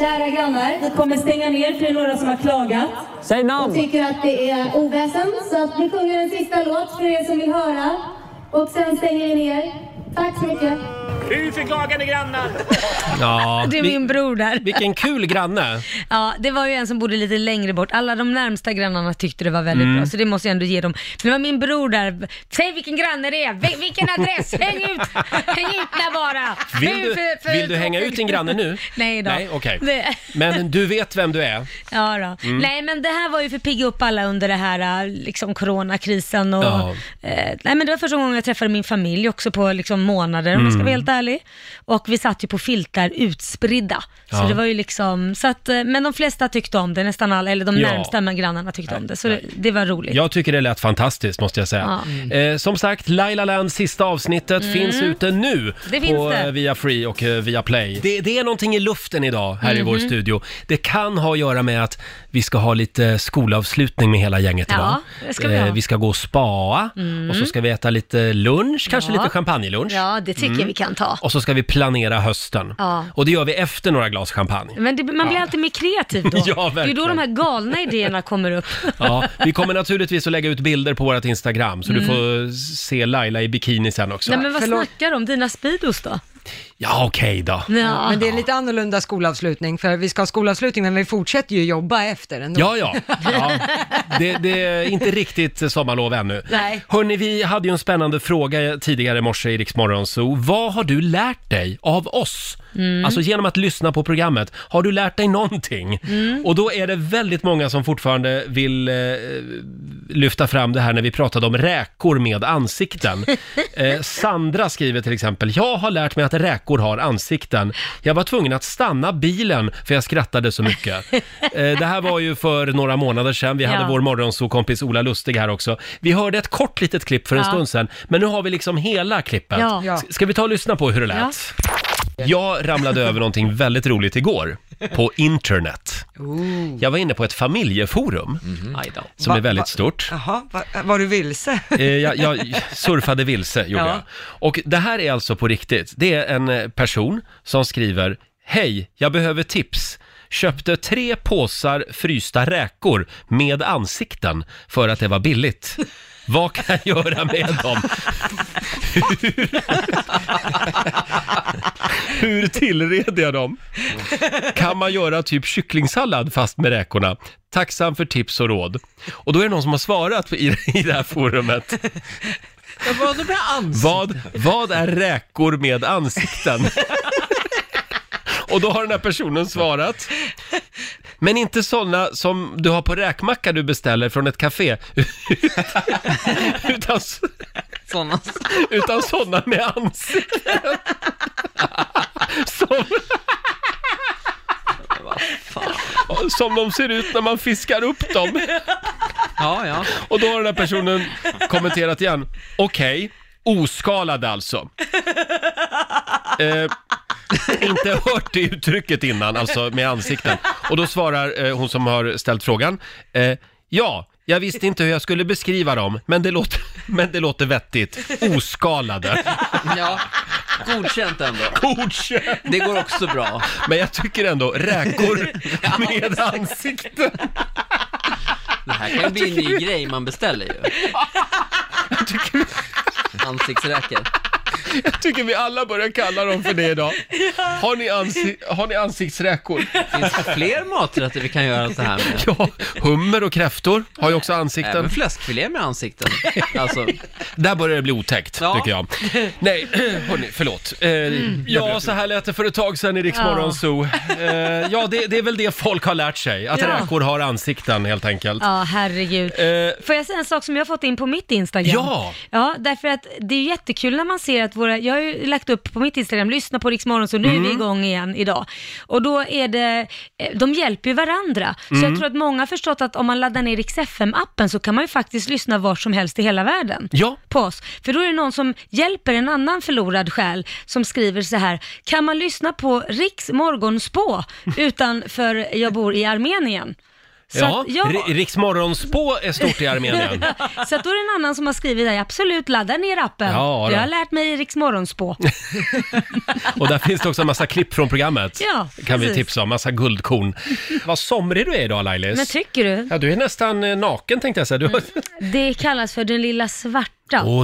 T: Kära grannar, vi kommer stänga ner för det är några som har klagat.
U: Säg
T: Och tycker att det är oväsen. Så att vi sjunger en sista låt för er som vill höra. Och sen stänger vi ner. Tack så mycket.
V: Fy för klagande grannar!
A: Ja,
C: Det är
A: vi-
C: min bror där.
A: Vilken kul granne.
C: Ja, det var ju en som bodde lite längre bort. Alla de närmsta grannarna tyckte det var väldigt
A: Mm.
C: bra, så det måste jag ändå ge dem. Men det var min bror där. Säg vilken granne det är, Vil- vilken adress, häng ut, häng ut där bara.
A: Vill
C: Fy
A: du,
C: för- för-
A: vill du hänga ut din granne nu?
C: Nej då.
A: Nej, okej.
C: Det-
A: Men du vet vem du är?
C: Ja då.
A: Mm.
C: Nej men det här var ju för att pigga upp alla under det här eh, liksom coronakrisen och...
A: Ja.
C: Eh, nej men det var första gången jag träffade min familj också på liksom månader om jag ska
A: Mm.
C: vara helt ärlig. Och vi satt ju på filtar utspridda. Så
A: Ja.
C: det var ju liksom, så att, eh, men de flesta tyckte om det, nästan alla, eller de
A: Ja.
C: närmsta med grannarna tyckte om det. Så det, det var roligt.
A: Jag tycker det lät fantastiskt måste jag säga.
C: Ja. Mm.
A: Eh, som sagt, Laila Land sista avsnittet
C: Mm.
A: finns ute nu
C: Det finns
A: på
C: det.
A: eh, via Free och eh, via Play. Det, det är någonting i luften idag här i vår
C: Mhm.
A: studio. Det kan ha att göra med att vi ska ha lite skolavslutning med hela gänget
C: Ja,
A: idag. Eh,
C: det ska vi ha.
A: vi ska gå och spa
C: Mm.
A: och så ska vi äta lite lunch, kanske
C: Ja.
A: lite champagnelunch.
C: Ja, det tycker
A: Mm.
C: jag vi kan ta.
A: Och så ska vi planera hösten.
C: Ja.
A: Och det gör vi efter några glas champagne.
C: Men det, man blir alltid mer kreativ då.
A: Ja,
C: det är ju då
A: verkligen.
C: de här galna idéerna kommer upp.
A: Ja, vi kommer naturligtvis att lägga ut bilder på vårt Instagram, så du
C: Mm.
A: får se Laila i bikini sen också.
C: Nej men vad snackar du om? Dina speedos då?
A: Ja, okej då.
C: Ja.
B: Men det är lite annorlunda skolavslutning, för vi ska ha skolavslutning, men vi fortsätter ju jobba efter ändå.
A: Ja, ja. ja. Det, det är inte riktigt sommarlov ännu.
B: Nej.
A: Hörni, vi hade ju en spännande fråga tidigare i morse i Rix Morgon Zoo. Vad har du lärt dig av oss?
C: Mm.
A: Alltså genom att lyssna på programmet. Har du lärt dig någonting?
C: Mm.
A: Och då är det väldigt många som fortfarande vill eh, lyfta fram det här när vi pratade om räkor med ansikten. Eh, Sandra skriver till exempel, jag har lärt mig att räkor har ansikten. Jag var tvungen att stanna bilen för jag skrattade så mycket. Eh, det här var ju för några månader sedan. Vi hade
C: Ja.
A: vår morgonsokompis Ola Lustig här också. Vi hörde ett kort litet klipp för en
C: Ja.
A: stund sedan, men nu har vi liksom hela klippet.
C: Ja. Ja.
A: S- Ska vi ta och lyssna på hur det lät?
C: Ja.
A: Jag ramlade över någonting väldigt roligt igår på internet. Jag var inne på ett familjeforum
C: Mm-hmm.
A: som
B: Va-
A: är väldigt
B: va-
A: stort.
B: Jaha, va- var du vilse?
A: Eh, Jag, jag surfade vilse, gjorde
B: Ja.
A: jag. Och det här är alltså på riktigt. Det är en eh, person som skriver Hej, jag behöver tips. Köpte tre påsar frysta räkor med ansikten för att det var billigt. Vad kan jag göra med dem? Hur, hur tillreder jag dem? Kan man göra typ kycklingsallad fast med räkorna? Tacksam för tips och råd. Och då är det någon som har svarat på- i, i det här forumet.
W: Vad med ansikten?
A: Vad, vad är räkor med ansikten? Och då har den här personen svarat. Men inte sådana som du har på räkmacka du beställer från ett café. Utan sådana utan såna med ansikten. Som, som de ser ut när man fiskar upp dem. Ja, ja. Och då har den här personen kommenterat igen. Okej, oskalad alltså. Eh, inte hört det uttrycket innan, alltså med ansikten. Och då svarar eh, hon som har ställt frågan. Eh, ja, jag visste inte hur jag skulle beskriva dem, men det låter, men det låter vettigt. Oskalade.
W: Ja, godkänt ändå.
A: Godkänt!
W: Det går också bra.
A: Men jag tycker ändå, räkor med ansikten.
W: Det här kan ju bli en ny grej man beställer ju. Ansiktsräkor.
A: Jag tycker vi alla börjar kalla dem för det idag. Har ni, ansi- har ni ansiktsräkor?
W: Finns det fler maträtter vi kan göra så här med?
A: Ja, hummer och kräftor har ju också ansikten.
W: Även fläskfilé med ansikten. Alltså,
A: Där börjar det bli otäckt,
W: Ja.
A: tycker jag. Nej, hörni, förlåt. Eh,
C: Mm.
A: Ja, så här lät det för ett tag sedan i Rix
W: Ja.
A: ja. Zoo. Eh, ja, det, det är väl det folk har lärt sig, att
C: Ja.
A: räkor har ansikten helt enkelt.
C: Ja, herregud.
X: Eh,
C: Får jag säga en sak som jag har fått in på mitt Instagram?
A: Ja.
C: Ja, därför att det är ju jättekul när man ser att våra, jag har ju lagt upp på mitt Instagram, lyssna på Rix Morgon, så nu är
X: Mm.
C: vi igång igen idag. Och då är det, eh, de hjälper ju varandra. Så
X: Mm.
C: jag tror att många har förstått att om man laddar ner Rix FM-appen så kan man ju faktiskt lyssna var som helst i hela världen
X: Ja.
C: på oss. För då är det någon som hjälper en annan förlorad själ som skriver så här, kan man lyssna på Riks morgonspå utanför jag bor i Armenien? Så
A: Ja,
C: att- ja.
A: Riksmorgonspå är stort i Armenien.
C: Så att då är det en annan som har skrivit där, absolut ladda ner appen.
A: Ja, då.
C: jag har lärt mig Riks morgonspå.
A: Och där finns det också en massa klipp från programmet.
C: Ja,
A: kan vi
C: precis.
A: tipsa om, massa guldkorn. Vad somrig du är idag Lailis.
C: Men Mm. tycker du?
A: Ja, du är nästan eh, naken tänkte jag säga. Du... Åh,
C: Det kallas för den lilla svarta.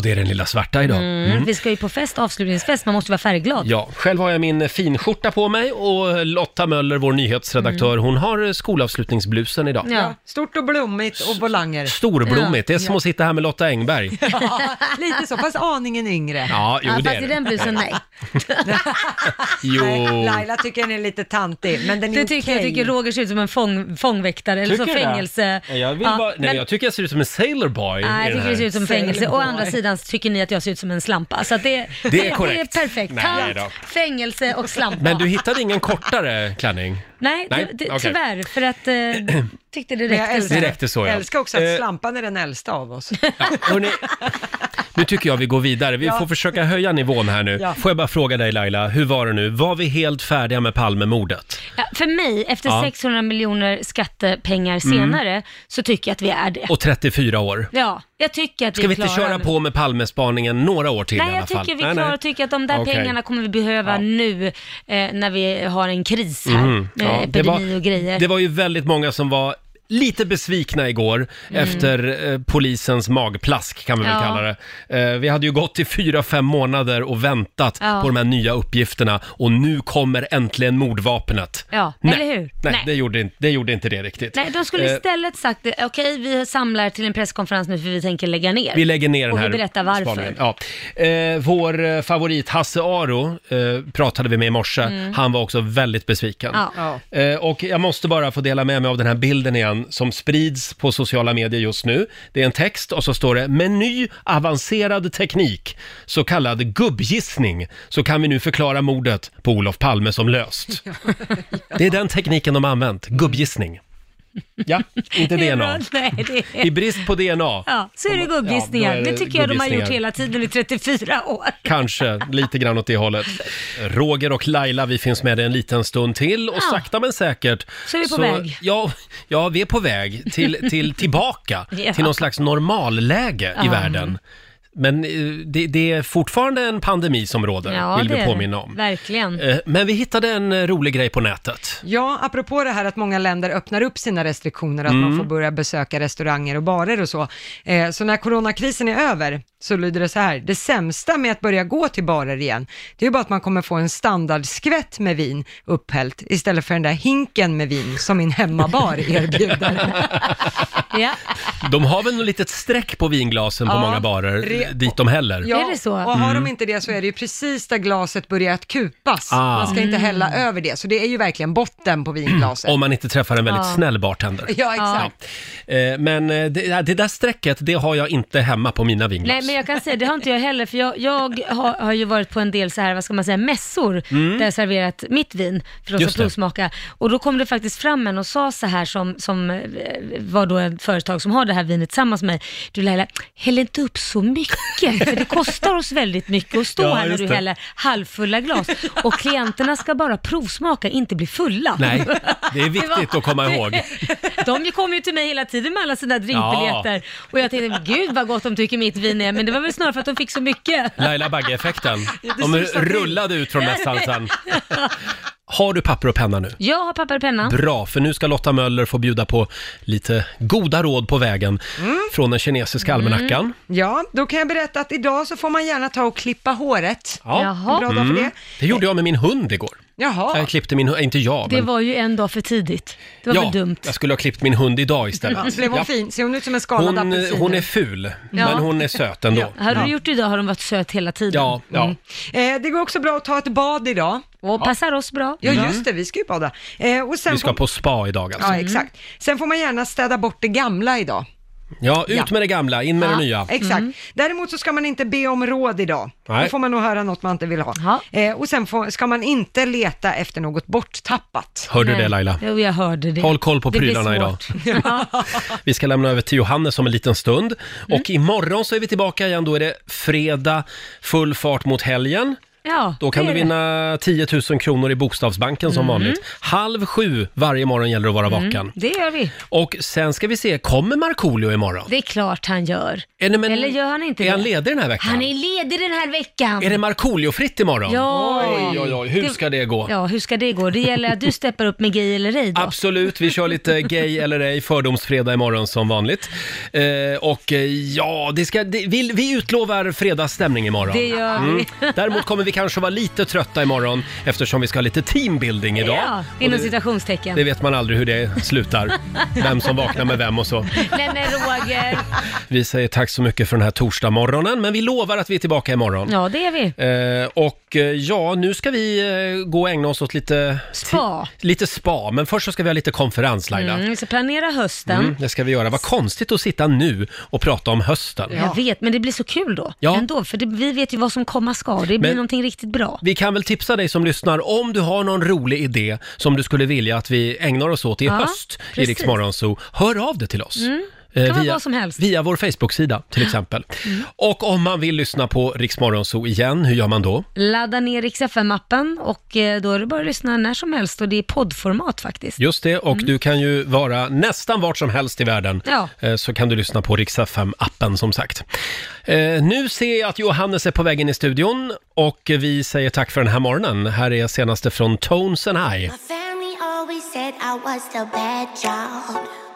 A: det är den lilla svarta idag.
C: Mm.
A: Oh, Mm.
C: Vi ska ju på fest, avslutningsfest, man måste vara färgglad.
A: Ja, själv har jag min finskjorta på mig och Lotta Möller, vår nyhetsredaktör,
C: Mm.
A: hon har eh, skolavslutningsblusen idag.
B: Ja, stort och blommigt och volanger.
A: Storblommigt, det är som att sitta här med Lotta Engberg.
B: Ja, lite så, fast aningen yngre.
A: Ja, jo, Ja, det fast är i det. den blusen, nej. Jo.
B: Laila tycker den är lite tantig, men den är
C: Du tycker, jag
B: okej.
C: tycker Roger ser ut som en fång, fångväktare, eller så
A: Tycker du det?
C: fängelse.
A: Ja, Jag, vill
C: Ja,
A: bara, nej,
C: men-
A: jag tycker jag ser ut som en sailor boy. i
C: Nej, jag
A: den
C: tycker det
A: här.
C: ser ut som fängelse. Å andra sidan så tycker ni att jag ser ut som en slampa. Så att det,
A: är korrekt.
C: Det är perfekt.
A: Nej,
C: Tant,
A: då.
C: fängelse och slampa.
A: Men du hittade ingen kortare klänning?
C: Nej,
A: Nej,
C: det, det,
A: okej.
C: tyvärr. För att eh, tyckte det
B: Men jag
C: räckte.
A: älskar- Det räckte så, ja.
B: Jag älskar också att
A: Eh.
B: slampan är den äldsta av oss.
A: Nu tycker jag vi går vidare. Vi
B: Ja.
A: får försöka höja nivån här nu.
C: Ja.
A: Får jag bara fråga dig Laila, hur var det nu? Var vi helt färdiga med Palmemordet?
C: Ja, för mig, efter
A: Ja. Mm.
C: 600 miljoner skattepengar senare, så tycker jag att vi är det.
A: Och 34 år?
C: Ja, jag tycker att
A: Ska vi
C: vi är
A: inte
C: klara
A: köra
C: nu.
A: på med Palmespaningen några år till
C: nej,
A: i alla
C: jag
A: fall?
C: tycker vi är klara och tycker att de där
A: Okej.
C: pengarna kommer vi behöva nu eh, när vi har en kris här
A: Mhm,
C: med
A: ja.
C: epidemi
A: Det var-
C: och grejer.
A: Det var ju väldigt många som var lite besvikna igår
C: Mm.
A: efter eh, polisens magplask kan vi väl
C: Ja.
A: kalla det. Eh, vi hade ju gått i fyra, fem månader och väntat
C: Ja.
A: på de här nya uppgifterna och nu kommer äntligen mordvapnet.
C: Ja,
A: Nej.
C: eller hur?
A: Nej, Det, gjorde inte, det gjorde inte det riktigt.
C: Nej, de skulle
A: Eh,
C: istället sagt eh, okej, vi samlar till en presskonferens nu för vi tänker lägga ner.
A: Vi lägger ner den
C: och
A: här
C: Och vi berättar varför.
A: spaningen. Ja. Eh, vår eh, favorit Hasse Aro eh, pratade vi med i morse.
C: Mm.
A: Han var också väldigt besviken.
C: Ja.
A: Eh, och jag måste bara få dela med mig av den här bilden igen som sprids på sociala medier just nu. Det är en text och så står det “Med ny avancerad teknik, så kallad gubbgissning, så kan vi nu förklara mordet på Olof Palme som löst”. Det är den tekniken de har använt, gubbgissning. Ja, inte
C: Det
A: DNA.
C: är bra. Nej, det är...
A: I brist på DNA.
C: Ja, så är det gubbgissningar.
A: Ja, då är
C: det,
A: det
C: tycker jag de har
A: gubbgissningar.
C: gjort hela tiden i 34 år.
A: Kanske, lite grann åt det hållet. Roger och Laila, vi finns med dig en liten stund till och
C: Ja.
A: sakta men säkert.
C: Så är vi på väg.
A: Ja, ja, vi är på väg till, till tillbaka
C: Ja.
A: till någon slags normalläge i
C: Ja.
A: världen. Men eh, det, det är fortfarande en pandemi som råder, vill
C: det
A: vi
C: är det. Mm.
A: påminna om.
C: Verkligen.
A: Eh, Men vi hittade en eh, rolig grej på nätet.
B: Ja, apropå det här att många länder öppnar upp sina restriktioner, att
A: Mm.
B: man får börja besöka restauranger och barer och så. Eh, så när coronakrisen är över så lyder det så här, det sämsta med att börja gå till barer igen, det är ju bara att man kommer få en standardskvätt med vin upphällt istället för den där hinken med vin som min hemmabar erbjuder.
C: ja.
A: De har väl något litet streck på vinglasen på
B: Ja,
A: många barer,
B: re-
A: dit de häller.
B: Ja, och har
A: Mm.
B: de inte det så är det ju precis där glaset börjar att kupas.
A: Ah.
B: Man ska inte
A: Mm.
B: hälla över det, så det är ju verkligen botten på vinglaset.
A: Om man inte träffar en väldigt
B: Ja.
A: snäll bartender.
B: Ja, exakt.
A: Eh, Men eh, det, ja, det där strecket, det har jag inte hemma på mina vinglas.
C: Nej, men jag kan säga, det har inte jag heller, för jag, jag har, har ju varit på en del så här, vad ska man säga, mässor,
A: Mm.
C: där jag serverat mitt vin, för de ska
A: Just det.
C: provsmaka. Och då kom det faktiskt fram en och sa så här, som, som eh, var då ett företag som har det här vinet tillsammans med mig, du Laila, häll inte upp så mycket, för det kostar oss väldigt mycket att stå
A: Ja,
C: här när
A: just
C: du
A: det.
C: häller halvfulla glas. Och klienterna ska bara provsmaka, inte bli fulla.
A: Nej, det är viktigt att komma ihåg.
C: De kommer ju till mig hela tiden med alla sina drinkbiljetter. Och jag tänkte, gud vad gott de tycker mitt vin är, men det var väl snarare för att de fick så mycket.
A: Laila Bagge-effekten.
C: Ja, det
A: De
C: susar till.
A: rullade ut från mässan sen. Har du papper och penna nu?
C: Jag har papper och penna.
A: Bra, för nu ska Lotta Möller få bjuda på lite goda råd på vägen
B: Mm.
A: från den kinesiska
C: Mm.
A: almanackan.
B: Ja, då kan jag berätta att idag så får man gärna ta och klippa håret. En Bra dag för
A: Mm.
B: det.
A: det gjorde jag med min hund igår.
B: Jaha.
A: Jag klippte min hund, inte jag,
C: Det
A: men...
C: var ju en dag för tidigt. Det var
A: ja,
C: väl dumt.
A: jag skulle ha klippt min hund idag
B: Ja,
A: istället.
B: Blev hon
A: Ja.
B: fin? Ser hon ut som en skalad
A: Hon, eh,
B: apelsin?
A: hon är ful, men hon är söt ändå.
C: Ja. Hade du gjort det idag har de varit söt hela tiden. Mm.
A: Ja, ja.
B: Eh, det går också bra att ta ett bad idag.
C: Och passar oss bra.
B: Ja,
A: Mm.
B: just det, vi ska ju bada. Eh, och sen
A: Vi ska
B: får-
A: på spa idag alltså.
B: Ja, exakt. Sen får man gärna städa bort det gamla idag.
A: Ja, ut
B: Ja.
A: med det gamla, in med det nya. Mm.
B: Exakt. Däremot så ska man inte be om råd idag.
A: Nej.
B: Då får man nog höra något man inte vill ha. Eh, och sen får, ska man inte leta efter något borttappat.
A: Hörde du det, Nej. Laila?
C: Jo, jag hörde det.
A: Håll koll på
C: Det blir
A: prylarna idag.
C: svårt.
A: Vi ska lämna över till Johannes om en liten stund.
C: Mm.
A: Och imorgon så är vi tillbaka igen, då är det fredag, full fart mot helgen.
C: Ja,
A: Då kan
C: det
A: du
C: är det.
A: vinna 10 000 kronor i Bokstavsbanken som
C: Mm.
A: vanligt. Halv sju varje morgon gäller det att vara
C: Mm,
A: vaken.
C: det gör vi.
A: Och sen ska vi se, kommer Markoolio imorgon?
C: Det är klart han gör.
A: Är det- men-
C: Eller gör han inte
A: Är
C: det?
A: han ledig den här veckan?
C: Han är ledig den här veckan.
A: Är det Markoolio-fritt imorgon?
C: Ja.
A: Oj, oj, oj, hur ska det gå?
C: Ja, hur ska det gå? Det gäller att du steppar upp med gay eller ej då.
A: Absolut, vi kör lite gay eller ej, fördomsfredag imorgon som vanligt. Eh, och eh, ja, det ska, det, vi, vi utlovar fredagsstämning imorgon. Mm.
C: Det gör vi.
A: Däremot kommer vi kanske vara lite trötta imorgon eftersom vi ska ha lite teambuilding idag.
C: Ja,
A: Och
C: inom
A: det-
C: citationstecken.
A: Det vet man aldrig hur det slutar. Vem som vaknar med vem och så.
C: Nej men Roger.
A: Vi säger tack så mycket för den här torsdagsmorgonen, men vi lovar att vi är tillbaka imorgon.
C: Ja, det är vi.
A: Eh, och eh, ja, nu ska vi eh, gå och ägna oss åt lite...
C: Spa.
A: Lite spa, men först så ska vi ha lite konferens Laila.
C: Mm, vi ska planera hösten.
A: Mm, det ska vi göra. Vad konstigt att sitta nu och prata om hösten.
C: Jag vet, men det blir så kul då.
A: Ja.
C: Ändå, för det, vi vet ju vad som komma ska. Det blir
A: Men-
C: någonting riktigt bra.
A: Vi kan väl tipsa dig som lyssnar om du har någon rolig idé som du skulle vilja att vi ägnar oss åt i
C: Ja,
A: höst i
C: precis.
A: Rix Morgonzoo. Hör av dig till oss.
C: Mm.
A: Eh,
C: Kan vara vad som helst. Mm.
A: via vår Facebook-sida till exempel. Och om man vill lyssna på Rix Morgonzoo igen, hur gör man då?
C: Ladda ner Rix FM-appen och eh, då är det bara att lyssna när som helst och det är poddformat faktiskt.
A: Just det, och
C: Mm.
A: du kan ju vara nästan vart som helst i världen.
C: Ja.
A: Eh, Så kan du lyssna på Rix FM-appen som sagt. Eh, Nu ser jag att Johannes är på väg in i studion och vi säger tack för den här morgonen. Här är senaste från Tones and High.
G: My family always said I was the bad child.